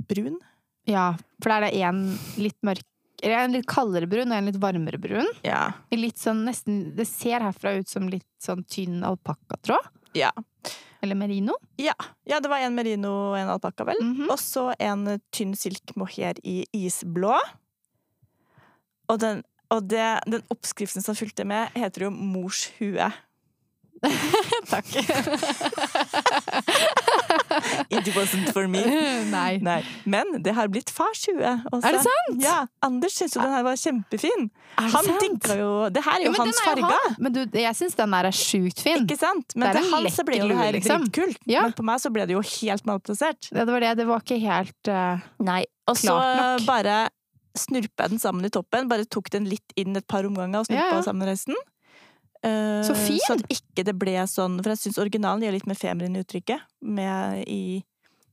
S1: brun.
S2: Ja, for der er det en litt mørk eller en litt kaldere brun og en litt varmere brun.
S1: Ja.
S2: I Litt sånn nesten, det ser herfra ut som litt sånn tynn alpakkatråd.
S1: Ja.
S2: Eller merino.
S1: ja, det var en merino og en alpakka, vel.
S2: Mhm.
S1: Og så en tynn silk mohair i isblå. Og den, og det, den oppskriften som fulgte med, heter jo mors hue.
S2: Takk.
S1: It wasn't for me.
S2: Nei.
S1: Nei. altså, Men det har blitt fars hue. Også.
S2: Er det sant?
S1: Ja, Anders syntes jo den her var kjempefin.
S2: Er det
S1: Han
S2: sant?
S1: digga jo Det her er
S2: Ja,
S1: jo
S2: men den
S1: hans
S2: er jo
S1: farge.
S2: han. Men du, jeg syns den der er sjukt fin.
S1: Ikke sant?
S2: Det
S1: Men
S2: er
S1: til
S2: en
S1: han så ble jo det
S2: lekker lue,
S1: her
S2: liksom.
S1: dritkult.
S2: Ja.
S1: Men på meg så ble det jo helt malplassert.
S2: Ja, det var det. Det var ikke helt eh,
S1: Nei. Og så
S2: klart nok.
S1: bare snurpa jeg den sammen i toppen. Bare tok den litt inn et par omganger og snurpa
S2: Ja, ja.
S1: sammen resten. Eh,
S2: Så fin!
S1: Så at ikke det ble sånn For jeg syns originalen gjør litt mer feminin i uttrykket. Med i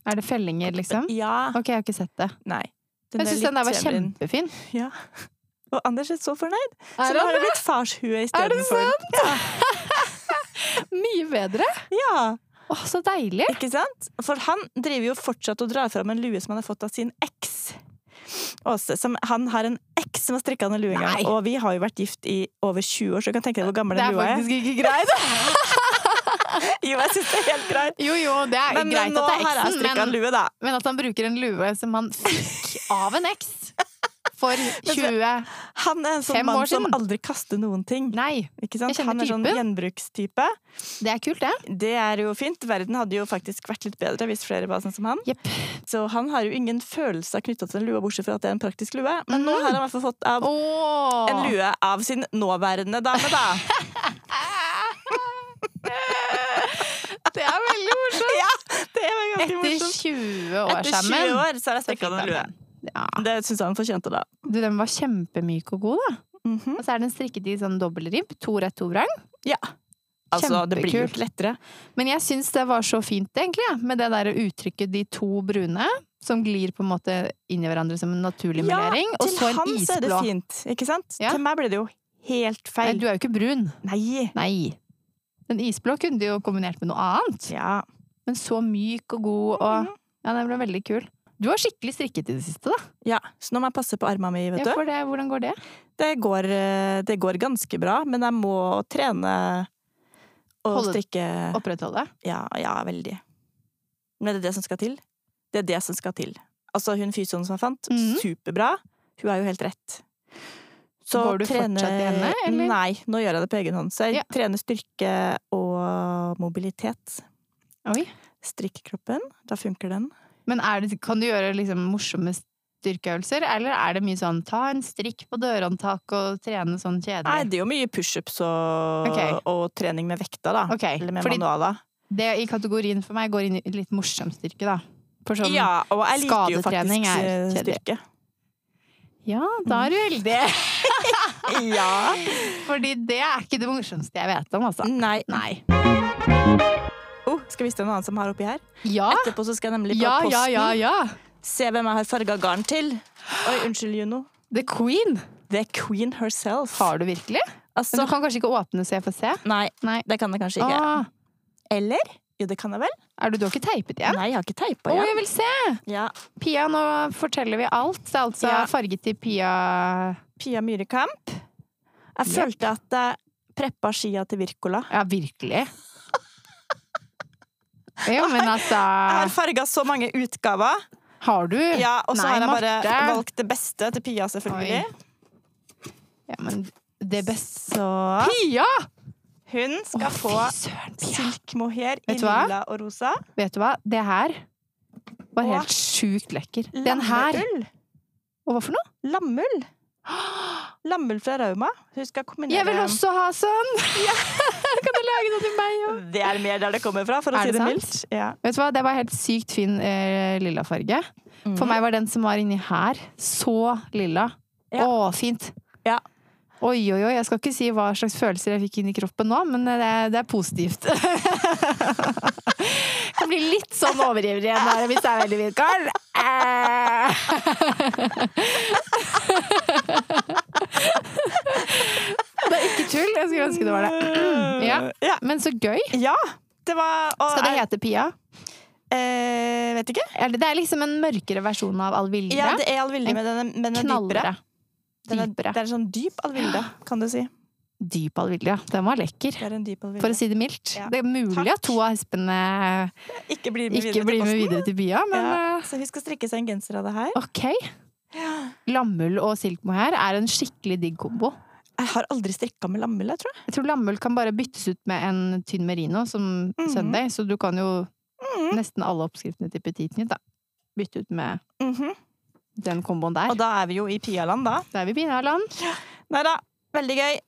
S2: Er det fellinger, liksom?
S1: Ja.
S2: Ok, jeg har ikke sett det.
S1: Nei.
S2: Jeg syns den der var kjempefin.
S1: Ja. Og Anders er så fornøyd. Så
S2: Er
S1: nå har
S2: den
S1: det blitt farshue
S2: Er det
S1: istedenfor.
S2: mye bedre?
S1: Ja,
S2: Å, så deilig!
S1: ikke sant? For han driver jo fortsatt og drar fram en lue som han har fått av sin eks. Åse, som, han har en eks som har strikka han en lue en gang.
S2: Nei.
S1: Og vi har jo vært gift i over 20 år, så du kan tenke deg hvor gammel
S2: Det
S1: den
S2: er
S1: lua er.
S2: faktisk ikke greit.
S1: Jo, jeg synes det er helt greit.
S2: Jo, jo, det er
S1: Men
S2: greit
S1: nå
S2: at det er
S1: har jeg
S2: eksen,
S1: strikka en
S2: men,
S1: lue, da.
S2: men at han bruker en lue som han fikk av en eks for 20
S1: Han er en sånn
S2: Fem
S1: mann
S2: år
S1: som
S2: siden.
S1: aldri kaster noen ting.
S2: Nei,
S1: Ikke sant?
S2: jeg kjenner
S1: Han er sånn
S2: typen.
S1: gjenbrukstype.
S2: det er kult, det.
S1: Det er jo fint. Verden hadde jo faktisk vært litt bedre hvis flere var sånn som han.
S2: Jepp.
S1: Så han har jo ingen følelser knytta til den lua, bortsett fra at det er en praktisk lue. Men
S2: Mhm.
S1: nå har han i hvert fall fått av
S2: Åh.
S1: en lue av sin nåværende dame, da.
S2: Det er veldig morsomt.
S1: ja, det var ganske
S2: Etter
S1: morsomt.
S2: 20 år
S1: Etter
S2: sammen.
S1: 20 år så har jeg
S2: så fikk
S1: strikka den
S2: han
S1: lue.
S2: den. Ja.
S1: Det syns han fortjente, da.
S2: Du, den var kjempemyk og god, da.
S1: Mhm.
S2: Og så er den strikket i sånn dobbeltribb. To rett, to vrang.
S1: Ja. Altså, det blir jo
S2: Kjempekult.
S1: ikke lettere.
S2: Men jeg syns det var så fint, egentlig, ja, med det derre uttrykket 'de to brune', som glir på en måte inn i hverandre som en naturlig
S1: Ja,
S2: melering. Og
S1: Til
S2: så en
S1: han så er det
S2: isblå.
S1: fint, ikke sant?
S2: Ja.
S1: Til meg ble det jo helt
S2: Nei,
S1: feil.
S2: du er jo ikke brun.
S1: Nei.
S2: Nei. Den isblå kunne du jo kombinert med noe annet.
S1: Ja. Mhm.
S2: Men så myk og god og Ja, den ble veldig kul. Du har skikkelig strikket i det siste, da.
S1: ja. Så nå må jeg passe på armene mine, vet
S2: Ja,
S1: du.
S2: for det, hvordan går det?
S1: Det går, eh, det går ganske bra, men jeg må trene og
S2: Holde-
S1: strikke
S2: Opprettholde?
S1: Ja, ja, veldig. Men er det det som skal til? Det er det som skal til. Altså, hun fysioen som jeg fant,
S2: Mhm.
S1: superbra. Hun har jo helt rett.
S2: Går du fortsatt til henne, eller?
S1: Nei, nå gjør jeg det på egen hånd. Så jeg
S2: Ja.
S1: trener styrke og mobilitet.
S2: Oi.
S1: Strikkekroppen, da funker den.
S2: Men er det, kan du gjøre liksom morsomme styrkeøvelser, eller er det mye sånn ta en strikk på dørhåndtak og trene sånn
S1: Nei,
S2: kjedelig?
S1: det er jo mye pushups og,
S2: Ok.
S1: og trening med vekta, da.
S2: Ok,
S1: Eller med
S2: fordi
S1: manualer.
S2: Det i kategorien for meg går inn i litt morsom styrke, da. For sånn, ja.
S1: Ja, og jeg liker jo
S2: skadetrening
S1: faktisk
S2: er
S1: eh,
S2: kjedelig.
S1: styrke.
S2: da er du heldig!
S1: Ja.
S2: Fordi det er ikke det morsomste jeg vet om, altså.
S1: Nei.
S2: Nei.
S1: Oh, skal vi se noe annet som har oppi her?
S2: Ja,
S1: Etterpå så skal jeg nemlig på
S2: Ah! ja,
S1: posten.
S2: ja, ja, ja.
S1: Se hvem jeg har farga garn til. Oi, unnskyld, Juno.
S2: The Queen!
S1: The queen herself.
S2: Har du virkelig? Men
S1: Altså,
S2: du kan kanskje ikke åpne så jeg får se?
S1: nei,
S2: Nei.
S1: det kan jeg kanskje ikke.
S2: Ah,
S1: Eller? Jo, det kan jeg vel?
S2: er du, du har ikke teipet igjen?
S1: Nei, jeg har ikke
S2: Å,
S1: teipa igjen.
S2: jeg vil se!
S1: Ja.
S2: Pia, nå forteller vi alt. Det er altså
S1: Ja.
S2: farget til Pia
S1: Pia Myhrekamp. Jeg
S2: Jepp.
S1: følte at jeg preppa skia til Virkola.
S2: Ja, virkelig. Ja, men altså
S1: Jeg har farga så mange utgaver.
S2: Har du?
S1: Ja, Og så
S2: Nei,
S1: har jeg bare
S2: Marte.
S1: valgt det beste til Pia, selvfølgelig.
S2: Ja, men det beste
S1: Så
S2: Pia!
S1: hun skal
S2: Å,
S1: få
S2: fy søren, Pia.
S1: silk mohair i
S2: Vet du hva?
S1: lilla og rosa.
S2: Vet du hva? Det her var
S1: Åh.
S2: helt sjukt lekker. Den her.
S1: Lammeull.
S2: Og hva for noe?
S1: Lammull. Lammull fra Rauma. Hun skal kombinere
S2: Jeg vil også ha sånn! kan du lage noe til meg òg?
S1: Det er mer der det kommer fra, for å
S2: Er
S1: si
S2: det
S1: det
S2: sant?
S1: mildt. Ja.
S2: Vet du hva? Det var helt sykt fin eh, lilla farge.
S1: Mhm.
S2: For meg var den som var inni her, så lilla.
S1: Ja.
S2: Å, fint.
S1: Ja.
S2: Oi, oi, oi. Jeg skal ikke si hva slags følelser jeg fikk inn i kroppen nå, men eh, det er, det er positivt. jeg blir litt sånn overivrig igjen her hvis det er veldig fint, Karl. Eh. det er ikke tull. Jeg skulle ønske det var det. Ja.
S1: ja.
S2: Men så gøy.
S1: Ja, det var og,
S2: Skal det hete Pia?
S1: Eh, vet ikke.
S2: Er det- Det er liksom en mørkere versjon av Alvilde.
S1: Ja, det er Alvilde, men den er, men den er dypere.
S2: Knallere.
S1: Den er,
S2: Dypere.
S1: det er en sånn dyp Alvilde, kan du si.
S2: Dyp Alvilde, ja. Den var lekker.
S1: Det er en dyp Alvilde.
S2: For å si det mildt.
S1: Ja.
S2: Det er mulig
S1: Takk.
S2: at to av hespene
S1: ikke blir med
S2: ikke blir
S1: videre til
S2: med
S1: posten.
S2: videre til bya, men
S1: Ja,
S2: eh,
S1: så hun skal strikke seg en genser av det her.
S2: OK. Lammull og silkmohair er en skikkelig digg kombo.
S1: Jeg har aldri strikka med lammull, jeg tror jeg.
S2: Jeg tror lammull kan bare byttes ut med en tynn merino som
S1: Mhm.
S2: Sunday, så du kan jo
S1: Mhm.
S2: nesten alle oppskriftene til Petit Nytt da. bytte ut med
S1: Mhm.
S2: den komboen der.
S1: Og da er vi jo i Pialand, da.
S2: Da er vi i Binaland.
S1: Nei da, veldig gøy.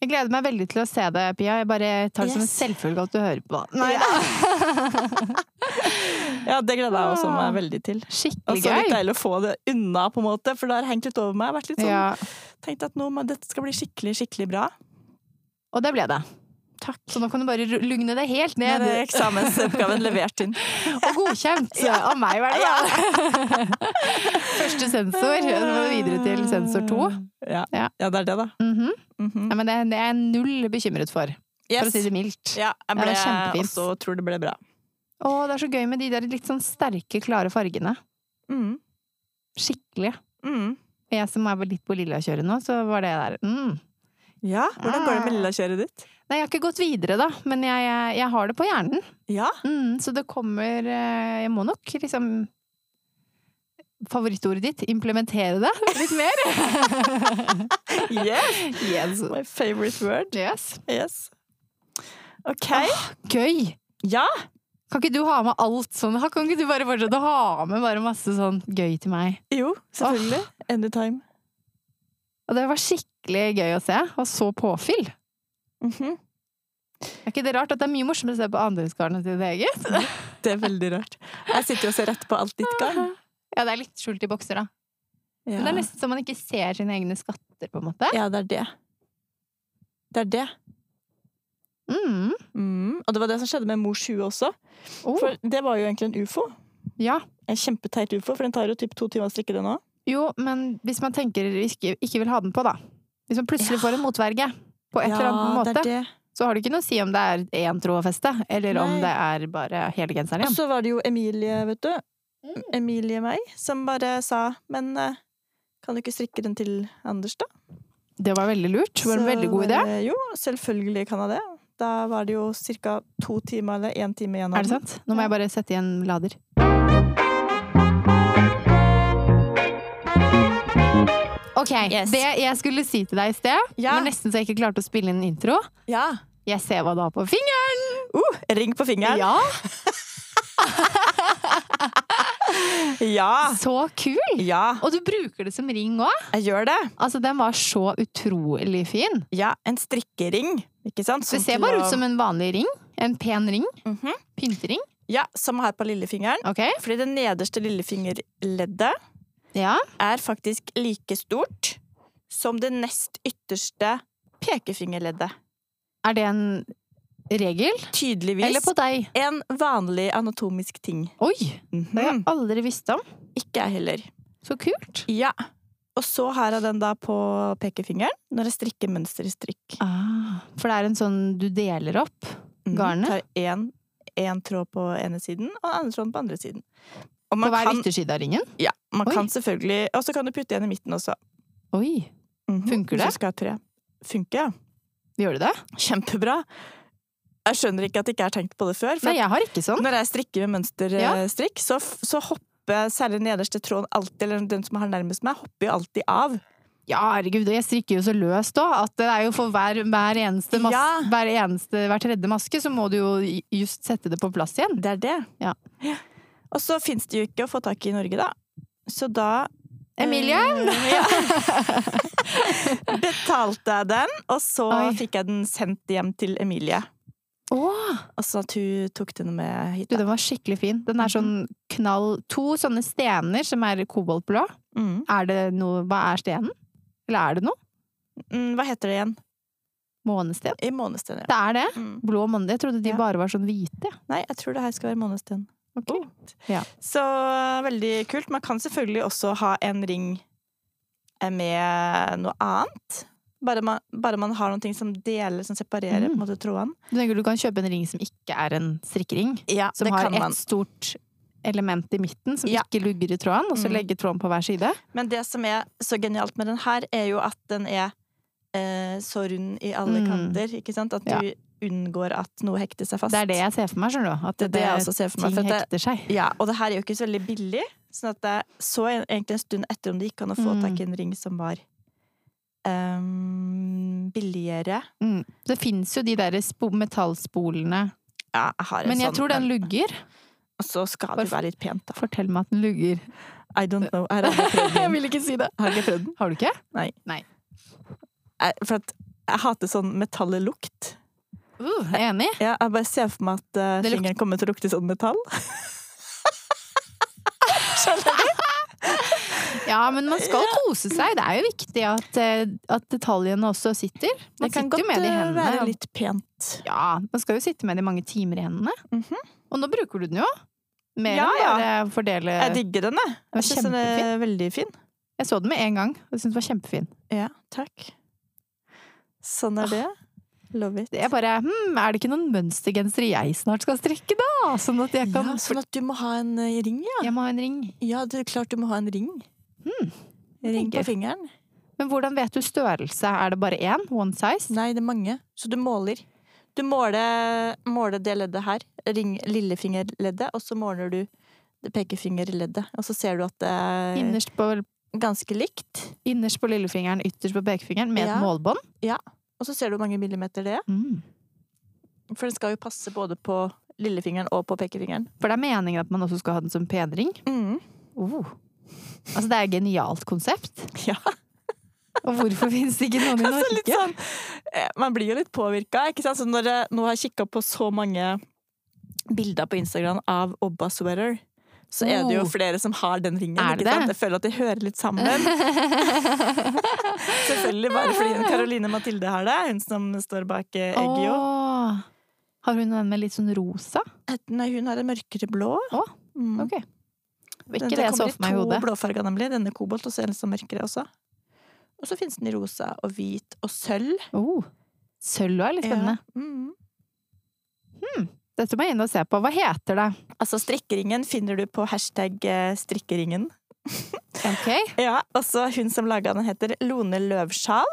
S2: Jeg gleder meg veldig til å se det, Pia. Jeg bare tar det som en
S1: Yes.
S2: selvfølge at du hører på. Nei,
S1: Ja. Ja, det gleder jeg også meg veldig til. Og
S2: Skikkelig
S1: så litt
S2: Ah. gøy.
S1: deilig å få det unna, på en måte, for det har hengt litt over meg. Jeg har Vært litt sånn,
S2: Ja,
S1: Tenkt at nå, må- dette skal bli skikkelig, skikkelig bra.
S2: og det ble det. Takk. Så nå kan du bare ru- lugne deg helt
S1: Nå
S2: ned.
S1: er eksamensoppgaven levert inn.
S2: Og godkjent av meg, i hvert fall. Første sensor. og Så må du videre til sensor to.
S1: Ja,
S2: Ja.
S1: ja det er det, da.
S2: Mhm.
S1: Mhm.
S2: ja, men det, det er jeg null bekymret for, for å
S1: Yes.
S2: si det mildt.
S1: Ja, jeg
S2: Ja,
S1: ble,
S2: det er kjempefint.
S1: også tror det ble bra.
S2: Å, det er så gøy med de der litt sånn sterke, klare fargene.
S1: Mm.
S2: Skikkelig.
S1: Mm.
S2: Jeg som er litt på lillakjøret nå, så var det der mm.
S1: Ja, hvordan går det med lillakjøret ditt?
S2: Nei, jeg har ikke gått videre, da, men jeg, jeg, jeg har det på hjernen.
S1: Ja,
S2: Mm, så det kommer eh, Jeg må nok liksom Favorittordet ditt implementere det litt mer.
S1: yes!
S2: yes.
S1: My favorite word.
S2: yes.
S1: Yes. Ah, OK.
S2: Gøy!
S1: Ja!
S2: Kan ikke du ha med alt sånn? Kan ikke du bare fortsette å ha med bare masse sånn gøy til meg?
S1: Jo, selvfølgelig. Anytime.
S2: Og det var skikkelig gøy å se, og så påfyll.
S1: Mhm.
S2: Er ikke det rart at det er mye morsommere å se på andres garn enn sitt eget?
S1: Det er veldig rart. Jeg sitter jo og ser rett på alt ditt garn.
S2: Ja, det er litt skjult i bokser, da. Men det er
S1: Ja.
S2: nesten så man ikke ser sine egne skatter, på en måte.
S1: ja, det er det. Det er det.
S2: Mm.
S1: Mm. Og det var det som skjedde med mors hue også.
S2: Oh,
S1: For det var jo egentlig en ufo.
S2: ja.
S1: En kjempeteit ufo, for den tar jo typ to timer å strikke den òg.
S2: Jo, men hvis man tenker ikke, ikke vil ha den på, da. Hvis man plutselig
S1: Ja.
S2: får en motverge på et eller annet måte,
S1: Det er det.
S2: så har det ikke noe å si om det er én tråd å feste, eller om
S1: Nei. Altså,
S2: det er bare hele genseren
S1: Og
S2: igjen.
S1: så var det jo Emilie, vet du. Emilie meg, som bare sa Men eh, kan du ikke strikke den til Anders, da?
S2: Det var veldig lurt. Det var en
S1: Så
S2: veldig god idé.
S1: bare, Jo, selvfølgelig kan jeg det. Da var det jo ca. to timer eller én time igjen. av
S2: Er det
S1: den.
S2: sant? Nå må jeg bare sette igjen lader. Ok,
S1: Yes.
S2: Det jeg skulle si til deg i sted,
S1: Ja.
S2: var nesten så jeg ikke klarte å spille inn en intro.
S1: Ja.
S2: Jeg ser hva du har på fingeren!
S1: Uh, ring på fingeren.
S2: Ja,
S1: Ja.
S2: Så kul!
S1: ja!
S2: Og du bruker det som ring òg.
S1: Jeg gjør det.
S2: Altså, den var så utrolig fin.
S1: Ja, en strikkering. Ikke sant?
S2: Det ser bare ut som en vanlig ring. En pen ring.
S1: Mhm.
S2: Pyntering.
S1: Ja, som her på lillefingeren.
S2: Ok?
S1: Fordi det nederste lillefingerleddet
S2: Ja.
S1: er faktisk like stort som det nest ytterste pekefingerleddet.
S2: Er det en regel?
S1: Tydeligvis
S2: Eller på deg?
S1: en vanlig anatomisk ting. Mhm.
S2: Oi! Det
S1: Mm.
S2: har jeg aldri visst om.
S1: Ikke jeg heller.
S2: Så kult.
S1: Ja. Og så har jeg den da på pekefingeren når jeg strikker mønster i strikk.
S2: Ah, for det er en sånn du deler opp.
S1: Mm.
S2: Garnet?
S1: Tar én, én tråd på ene siden og den andre tråden på andre siden. Og
S2: På
S1: man
S2: hver
S1: kan,
S2: ytterside av ringen?
S1: ja, man
S2: Oi.
S1: kan selvfølgelig Og så kan du putte en i midten også.
S2: Oi,
S1: Mhm.
S2: Funker det?
S1: Hvis du skal ha tre. Funker, ja.
S2: gjør du det?
S1: Kjempebra. Jeg skjønner ikke at jeg ikke har tenkt på det før. For
S2: Nei, jeg har ikke sånn.
S1: Når jeg strikker med mønsterstrikk, så, f- så hopper særlig nederste tråden alltid, eller den som har nærmest meg, hopper jo alltid av.
S2: Ja, herregud, og jeg strikker jo så løst òg, at det er jo for hver, hver eneste mas
S1: Ja.
S2: hver, eneste, hver tredje maske, så må du jo i- just sette det på plass igjen.
S1: Det er det.
S2: Ja.
S1: Og så fins det jo ikke å få tak i i Norge, da. Så da
S2: Emilie?
S1: Eh, ja. Betalte jeg den, og så
S2: Oi.
S1: fikk jeg den sendt hjem til Emilie.
S2: Åh,
S1: Og sånn at hun tok den med hit.
S2: du,
S1: Da.
S2: den var skikkelig fin. Den er sånn knall To sånne stener som er koboltblå.
S1: Mm.
S2: Er det noe Hva er stenen? Eller er det noe?
S1: mm, Hva heter det igjen?
S2: Månesten?
S1: I månesten, ja.
S2: Det er det?
S1: Mm.
S2: Blå måned? Jeg trodde de
S1: Ja.
S2: bare var sånn hvite.
S1: Nei, jeg tror det her skal være månesten.
S2: Ok.
S1: Oh.
S2: Ja.
S1: Så eh, veldig kult. Man kan selvfølgelig også ha en ring eh, med noe annet. Bare man, bare man har noen ting som deler, som separerer på
S2: Mm.
S1: en måte trådene.
S2: Du tenker du kan kjøpe en ring som ikke er en strikkering?
S1: Ja,
S2: Som
S1: det
S2: har
S1: kan man.
S2: ett stort element i midten som
S1: Ja.
S2: ikke lugger i tråden, og så
S1: Mm.
S2: legge tråden på hver side?
S1: Men det som er så genialt med den her, er jo at den er eh, så rund i alle
S2: Mm.
S1: kanter. Ikke sant? At du unngår at noe hekter seg fast.
S2: Det er det jeg ser for meg, skjønner du. At
S1: Det er det jeg også ser for meg.
S2: ting
S1: For at det,
S2: hekter seg.
S1: ja, og det her er jo ikke så veldig billig, sånn at jeg så egentlig en stund etter om det gikk an å få
S2: Mm.
S1: tak i en ring som var ehm, billigere.
S2: Mm. Det fins jo de der spo metallspolene.
S1: Ja, jeg har en
S2: Men jeg
S1: sånn,
S2: tror den lugger.
S1: Og så skal det
S2: Hvorfor-
S1: jo være litt pent, da.
S2: Fortell meg at den lugger.
S1: I don't know. Jeg har aldri prøvd den.
S2: vil ikke si det.
S1: Jeg Har ikke prøvd den.
S2: Har du ikke?
S1: Jeg- For at jeg hater sånn metallet lukt.
S2: Uh, jeg er enig.
S1: Ja, jeg bare ser for meg at eh,
S2: Det lukter-
S1: fingeren kommer til å lukte sånn metall.
S2: Ja, men man skal kose seg. Det er jo viktig at, eh, at detaljene også sitter. Man
S1: Det kan
S2: sitter
S1: godt
S2: jo med det i
S1: eh,
S2: hendene.
S1: være
S2: og-
S1: litt pent.
S2: Ja, man skal jo sitte med det i mange timer i hendene.
S1: Mhm.
S2: Og nå bruker du den jo. Mer
S1: Ja,
S2: enn
S1: ja.
S2: bare fordele
S1: Jeg digger den, jeg.
S2: Eh, Den var
S1: Jeg synes den er veldig fin.
S2: Jeg så den med en gang, og jeg syntes den var kjempefin.
S1: Ja, takk. Sånn er det. Love it.
S2: Jeg bare hm, er det ikke noen mønstergensere jeg snart skal strikke, da? Sånn at jeg kan
S1: Ja, sånn at du må ha en eh, ring, ja.
S2: Jeg må ha en ring.
S1: Ja, det er klart du må ha en ring. Ring på
S2: Hmm, tenker.
S1: fingeren.
S2: Men hvordan vet du størrelse? Er det bare én? One size?
S1: Nei, det er mange. Så du måler. Du måler, måler det leddet her, ring, lillefingerleddet, og så måler du det pekefingerleddet. Og så ser du at det er
S2: Innerst på,
S1: ganske likt.
S2: innerst på lillefingeren, ytterst på pekefingeren, med
S1: Ja.
S2: et målbånd?
S1: Og så ser du hvor mange millimeter det er.
S2: Mm.
S1: For den skal jo passe både på lillefingeren og på pekefingeren. Mm.
S2: For det er meningen at man også skal ha den som penring? Oh. Altså, det er et genialt konsept.
S1: Ja.
S2: Og hvorfor finnes det ikke noen i
S1: Altså litt
S2: Norge?
S1: sånn, eh, man blir jo litt påvirka. ikke sant? Så når jeg nå har kikka på så mange bilder på Instagram av Obba Sweater, så er det jo
S2: Oh.
S1: flere som har den ringen.
S2: Er det
S1: ikke
S2: det?
S1: sant? Jeg føler at de hører litt sammen. Selvfølgelig bare fordi Karoline Mathilde har det, hun som står bak eh, Eggio.
S2: Åh. Har hun den med litt sånn rosa?
S1: Et- Nei, hun har en mørkere blå.
S2: Å,
S1: Mm.
S2: Ok. Det var
S1: Den-
S2: ikke det jeg så for meg i
S1: Det
S2: hodet.
S1: kommer i to blåfarger, nemlig. Denne kobolt, og så en litt sånn mørkere også. Og så finnes den i rosa og hvit og sølv.
S2: Oh. Sølv er litt spennende.
S1: Ja. Mm.
S2: Dette må jeg inn og se på. Hva heter det?
S1: Altså, strikkeringen finner du på hashtag eh, strikkeringen.
S2: Ok.
S1: Ja, og så hun som laga den, heter Lone Løvsjal.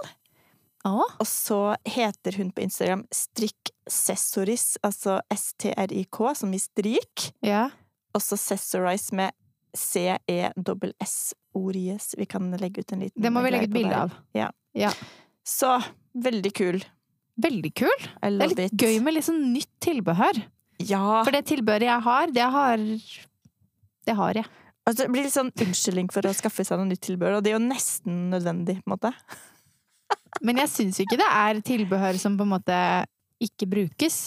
S2: Åh.
S1: Og så heter hun på Instagram Strikksessoris, altså S-T-R-I-K, som i strik.
S2: Ja.
S1: Og så Sessorize med E C-E-S-S-O-R-I-S. Vi kan legge ut en liten
S2: Det må vi
S1: greie
S2: legge et
S1: på
S2: bilde
S1: der.
S2: av.
S1: Så veldig kul.
S2: Veldig kul. Det
S1: I
S2: er
S1: love
S2: litt
S1: it. Ah.
S2: gøy med litt sånn nytt tilbehør.
S1: Ja.
S2: For det tilbehøret jeg har, det har Det har jeg.
S1: Altså, det blir litt sånn unnskyldning for å skaffe seg noe nytt tilbehør, og det er jo nesten nødvendig, på en måte.
S2: Men jeg syns jo ikke det er tilbehør som på en måte ikke brukes.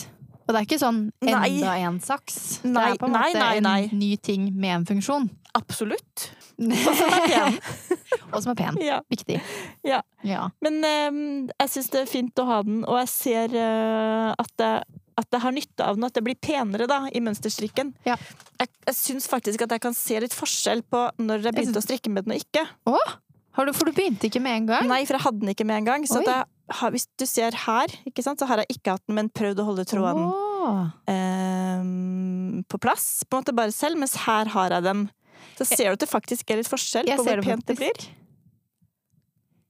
S2: Og det er ikke sånn enda
S1: Nei.
S2: en saks.
S1: Nei,
S2: det er på en
S1: nei,
S2: måte
S1: nei, nei.
S2: en ny ting med en funksjon.
S1: Absolutt.
S2: og
S1: Og så er det pen.
S2: som er pen.
S1: Ja.
S2: Viktig.
S1: Ja.
S2: ja.
S1: Men eh, jeg syns det er fint å ha den, og jeg ser eh, at, jeg, at jeg har nytte av den, at det blir penere da, i mønsterstrikken.
S2: Ja.
S1: Jeg, jeg syns faktisk at jeg kan se litt forskjell på når jeg begynte å strikke med den og ikke.
S2: Å! Har du, for du begynte ikke med en gang?
S1: Nei, for jeg hadde den ikke med en gang.
S2: Oi.
S1: Så at jeg, har- hvis du ser her, ikke sant, så har jeg ikke hatt den, men prøvd å holde tråden
S2: Åh.
S1: eh, på plass, på en måte bare selv, mens her har jeg den. Så ser du at det faktisk er litt forskjell
S2: Jeg
S1: på
S2: ser
S1: hvor
S2: det
S1: pent det blir.
S2: faktisk.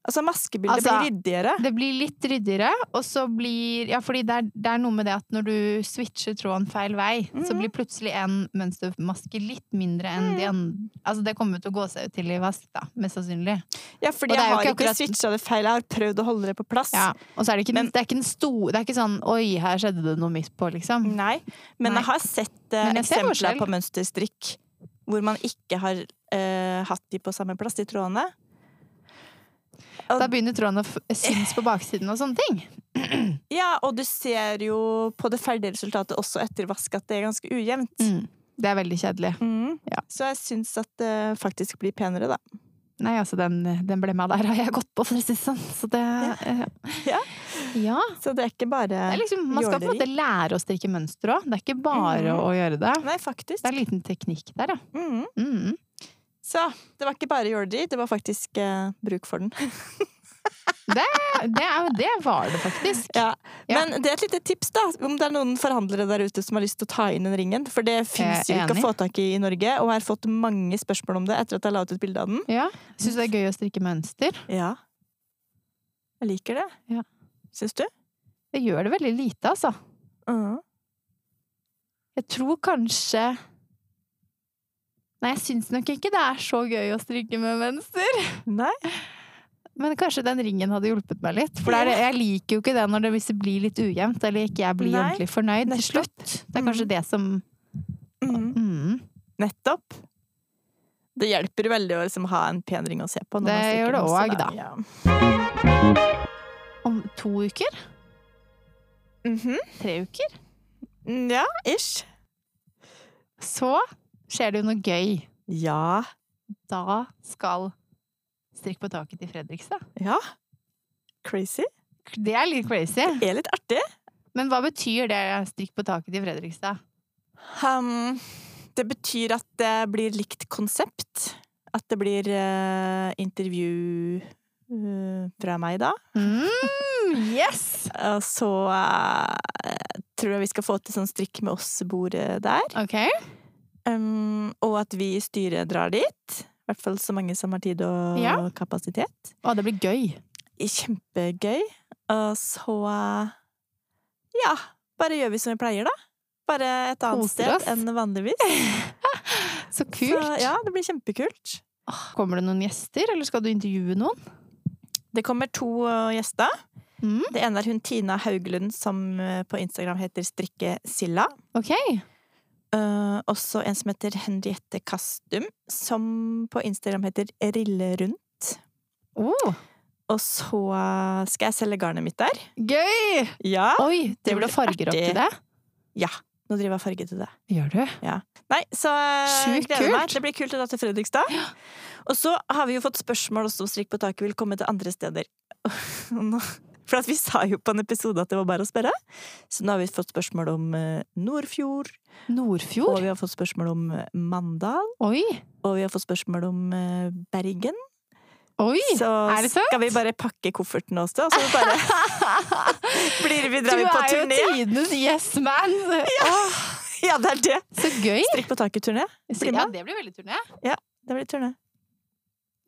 S1: Altså, maskebildet
S2: Altså,
S1: blir ryddigere.
S2: Det blir litt ryddigere, og så blir Ja, fordi det er, det er noe med det at når du switcher tråden feil vei, så
S1: Mhm.
S2: blir plutselig en mønstermaske litt mindre enn de andre Altså, det kommer jo til å gå seg ut til i vask, da, mest sannsynlig.
S1: Ja, fordi
S2: Og det er
S1: jeg
S2: jo
S1: har
S2: ikke
S1: ikke,
S2: akkurat-
S1: switcha det feil. Jeg har prøvd å holde det på plass.
S2: Ja. Og så er det ikke, den-
S1: Men-
S2: det er ikke den store Det er ikke sånn Oi, her skjedde det noe midt på, liksom.
S1: Nei, men
S2: Nei.
S1: jeg har sett eh,
S2: Men jeg ser
S1: eksempler
S2: forskjell.
S1: på mønsterstrikk hvor man ikke har eh, hatt de på samme plass, de trådene.
S2: Da begynner tråden å f synes på baksiden og sånne ting.
S1: Ja, og du ser jo på det ferdige resultatet også etter vask at det er ganske ujevnt.
S2: Det er veldig kjedelig.
S1: Mm.
S2: Mm. Ja.
S1: Så jeg syns at det faktisk blir penere, da.
S2: Nei, altså den, den ble med der har jeg gått på, for å si det sånn. Så det eh,
S1: Ja.
S2: ja.
S1: Så det er ikke bare
S2: Ah. Det er liksom, man skal på en måte lære å strikke mønster òg. Det er ikke bare å gjøre det.
S1: Nei, faktisk.
S2: Det er en liten teknikk der, ja.
S1: Mhm.
S2: Mm.
S1: Så det var ikke bare jorderi, det var faktisk eh, bruk for den.
S2: Det, er, jo- det var det faktisk.
S1: Ja.
S2: Ja.
S1: Men det er et lite tips, da, om det er noen forhandlere der ute som har lyst til å ta inn den ringen. For det fins jo
S2: Eh,
S1: ikke
S2: enig.
S1: å få tak i i Norge, og jeg har fått mange spørsmål om det etter at jeg la ut et bilde av den.
S2: Ja. Syns du det er gøy å strikke mønster?
S1: Ja. Jeg liker det.
S2: Ja.
S1: Syns du?
S2: Det gjør det veldig lite, altså.
S1: Mhm.
S2: Jeg tror kanskje Nei, jeg syns nok ikke det er så gøy å strikke med mønster.
S1: Nei.
S2: Men kanskje den ringen hadde hjulpet meg litt. For det er, det- jeg liker jo ikke det når det hvis det blir litt ujevnt, eller ikke jeg blir
S1: Nei,
S2: ordentlig fornøyd til
S1: nettopp.
S2: slutt. Det er kanskje
S1: Mm.
S2: det som
S1: Mhm.
S2: mm,
S1: Nettopp. Det hjelper veldig å liksom ha en pen ring å se på. når
S2: Det
S1: man strikker
S2: gjør det
S1: den, så
S2: også, da.
S1: Ja.
S2: Om to uker?
S1: Mhm.
S2: Tre uker?
S1: ja, ish.
S2: Så skjer det jo noe gøy.
S1: Ja.
S2: Da skal Strikk på taket til Fredrikstad.
S1: Ja. Crazy.
S2: Det er litt crazy.
S1: Det er litt artig.
S2: Men hva betyr det, Strikk på taket til Fredrikstad?
S1: Hm, det betyr at det blir likt konsept. At det blir eh, intervju eh, fra meg, da.
S2: Mm, yes!
S1: Og så eh, tror jeg vi skal få til sånn strikk med oss-bord eh, der.
S2: Ok.
S1: Ehm, og at vi i styret drar dit. I hvert fall så mange som har tid og
S2: Ja.
S1: kapasitet.
S2: Å, det blir gøy.
S1: Kjempegøy. Og så eh, Ja, bare gjør vi som vi pleier, da. Bare et annet
S2: Koser
S1: sted
S2: oss.
S1: enn vanligvis.
S2: Så
S1: Så,
S2: kult.
S1: ja, det blir kjempekult.
S2: Åh, Kommer det noen gjester, eller skal du intervjue noen?
S1: Det kommer to øh, gjester.
S2: Mm.
S1: Det ene er hun Tina Hauglund, som øh, på Instagram heter Strikke Silla.
S2: Ok.
S1: Uh, også en som heter Henriette Kastum, som på Instagram heter Rillerund.
S2: Oh,
S1: Og så øh, skal jeg selge garnet mitt der.
S2: gøy!
S1: Ja.
S2: Ah, Oi, det
S1: det
S2: blir
S1: blir
S2: farger opp
S1: artig.
S2: til det.
S1: Nå driver jeg farge til det.
S2: Gjør du?
S1: Nei, så øh,
S2: Sjukt
S1: gleder meg.
S2: kult.
S1: Det blir kult å dra til Fredrikstad. Og så har vi jo fått spørsmål også om Strikk på taket vil komme til andre steder. Nå- For at vi sa jo på en episode at det var bare å spørre. Så nå har vi fått spørsmål om øh, Nordfjord. Og
S2: Nordfjord?
S1: vi har fått spørsmål om eh, Mandal,
S2: Oi!
S1: og vi har fått spørsmål om eh, Bergen.
S2: Oi!
S1: Så
S2: er det sant?
S1: skal vi bare pakke kofferten også, og så bare blir vi,
S2: Du
S1: drar vi på
S2: er jo
S1: turné.
S2: tidenes yes man!
S1: Ja, det er det!
S2: Så gøy!
S1: Strikk på taket-turné. Bli
S2: Ja,
S1: med.
S2: det blir veldig turné.
S1: Det blir turné.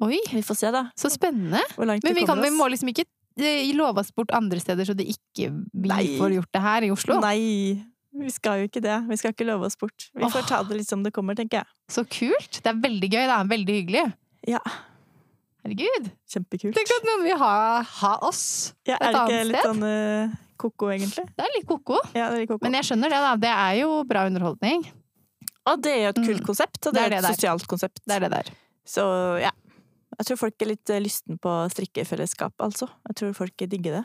S2: Oi,
S1: Vi får se, da,
S2: så spennende.
S1: hvor langt
S2: Men
S1: vi
S2: vi, kan,
S1: kommer
S2: vi
S1: oss.
S2: må liksom ikke eh, love oss bort andre steder, så det ikke vi
S1: Nei.
S2: får gjort det her i Oslo.
S1: Nei, vi skal jo ikke det. Vi skal ikke love oss bort. Vi får
S2: Åh.
S1: ta det litt som det kommer, tenker jeg.
S2: Så kult! Det er veldig gøy, det er veldig hyggelig.
S1: Ja.
S2: Herregud!
S1: Kjempekult.
S2: Tenk at noen vil ha, ha oss.
S1: Ja,
S2: et
S1: er det ikke
S2: annet
S1: litt
S2: sted.
S1: sånn eh, ko-ko, egentlig?
S2: Det er litt koko.
S1: Ja, det er litt ko-ko.
S2: Men jeg skjønner det, da. Det er jo bra underholdning.
S1: Og det er jo et kult
S2: Mm.
S1: konsept, og
S2: Det
S1: det
S2: er
S1: er
S2: det
S1: et
S2: der.
S1: sosialt konsept.
S2: Det er det der.
S1: Så ja. Jeg tror folk er litt eh, lysten på strikkefellesskap, altså. Jeg tror folk digger det.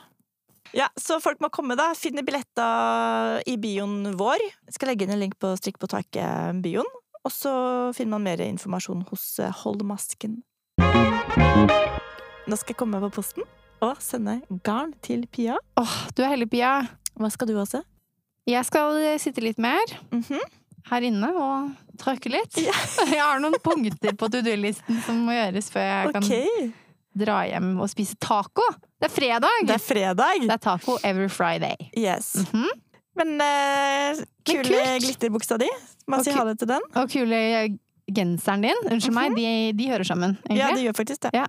S1: Ja, så folk må komme, da. Finne billetter i bioen vår. Jeg skal legge inn en link på Strikk på taket-bioen. Og så finner man mer informasjon hos eh, Hold masken. Nå skal jeg komme meg på posten og sende garn til Pia.
S2: Åh, du er heldig, Pia.
S1: Hva skal du også?
S2: Jeg skal eh, sitte litt mer
S1: Mhm.
S2: her inne og trykke litt.
S1: Ja.
S2: Jeg har noen punkter på to do-listen som må gjøres før jeg
S1: Ok.
S2: kan dra hjem og spise taco. Det er fredag!
S1: Det er fredag!
S2: Det er taco every Friday.
S1: Yes.
S2: Mhm.
S1: Men eh,
S2: Men
S1: kule
S2: kult.
S1: glitterbuksa di. Må si
S2: Ok.
S1: ha det til den.
S2: Og kule eh, genseren din. Unnskyld meg, de, de hører sammen,
S1: Mhm. Ja,
S2: egentlig.
S1: det gjør faktisk det.
S2: Ja.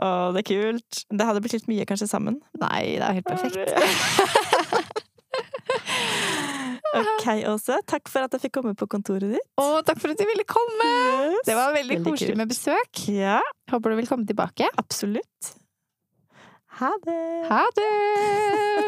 S1: Å, det er kult. Det hadde blitt litt mye kanskje sammen.
S2: Nei, det er helt perfekt.
S1: ok, Åse. Takk for at jeg fikk komme på kontoret ditt.
S2: Å, takk for at du ville komme!
S1: Yes.
S2: Det var veldig,
S1: Veldig
S2: koselig
S1: kult.
S2: med besøk.
S1: Ja,
S2: Håper du vil komme tilbake.
S1: absolutt. Ha det.
S2: Ha det!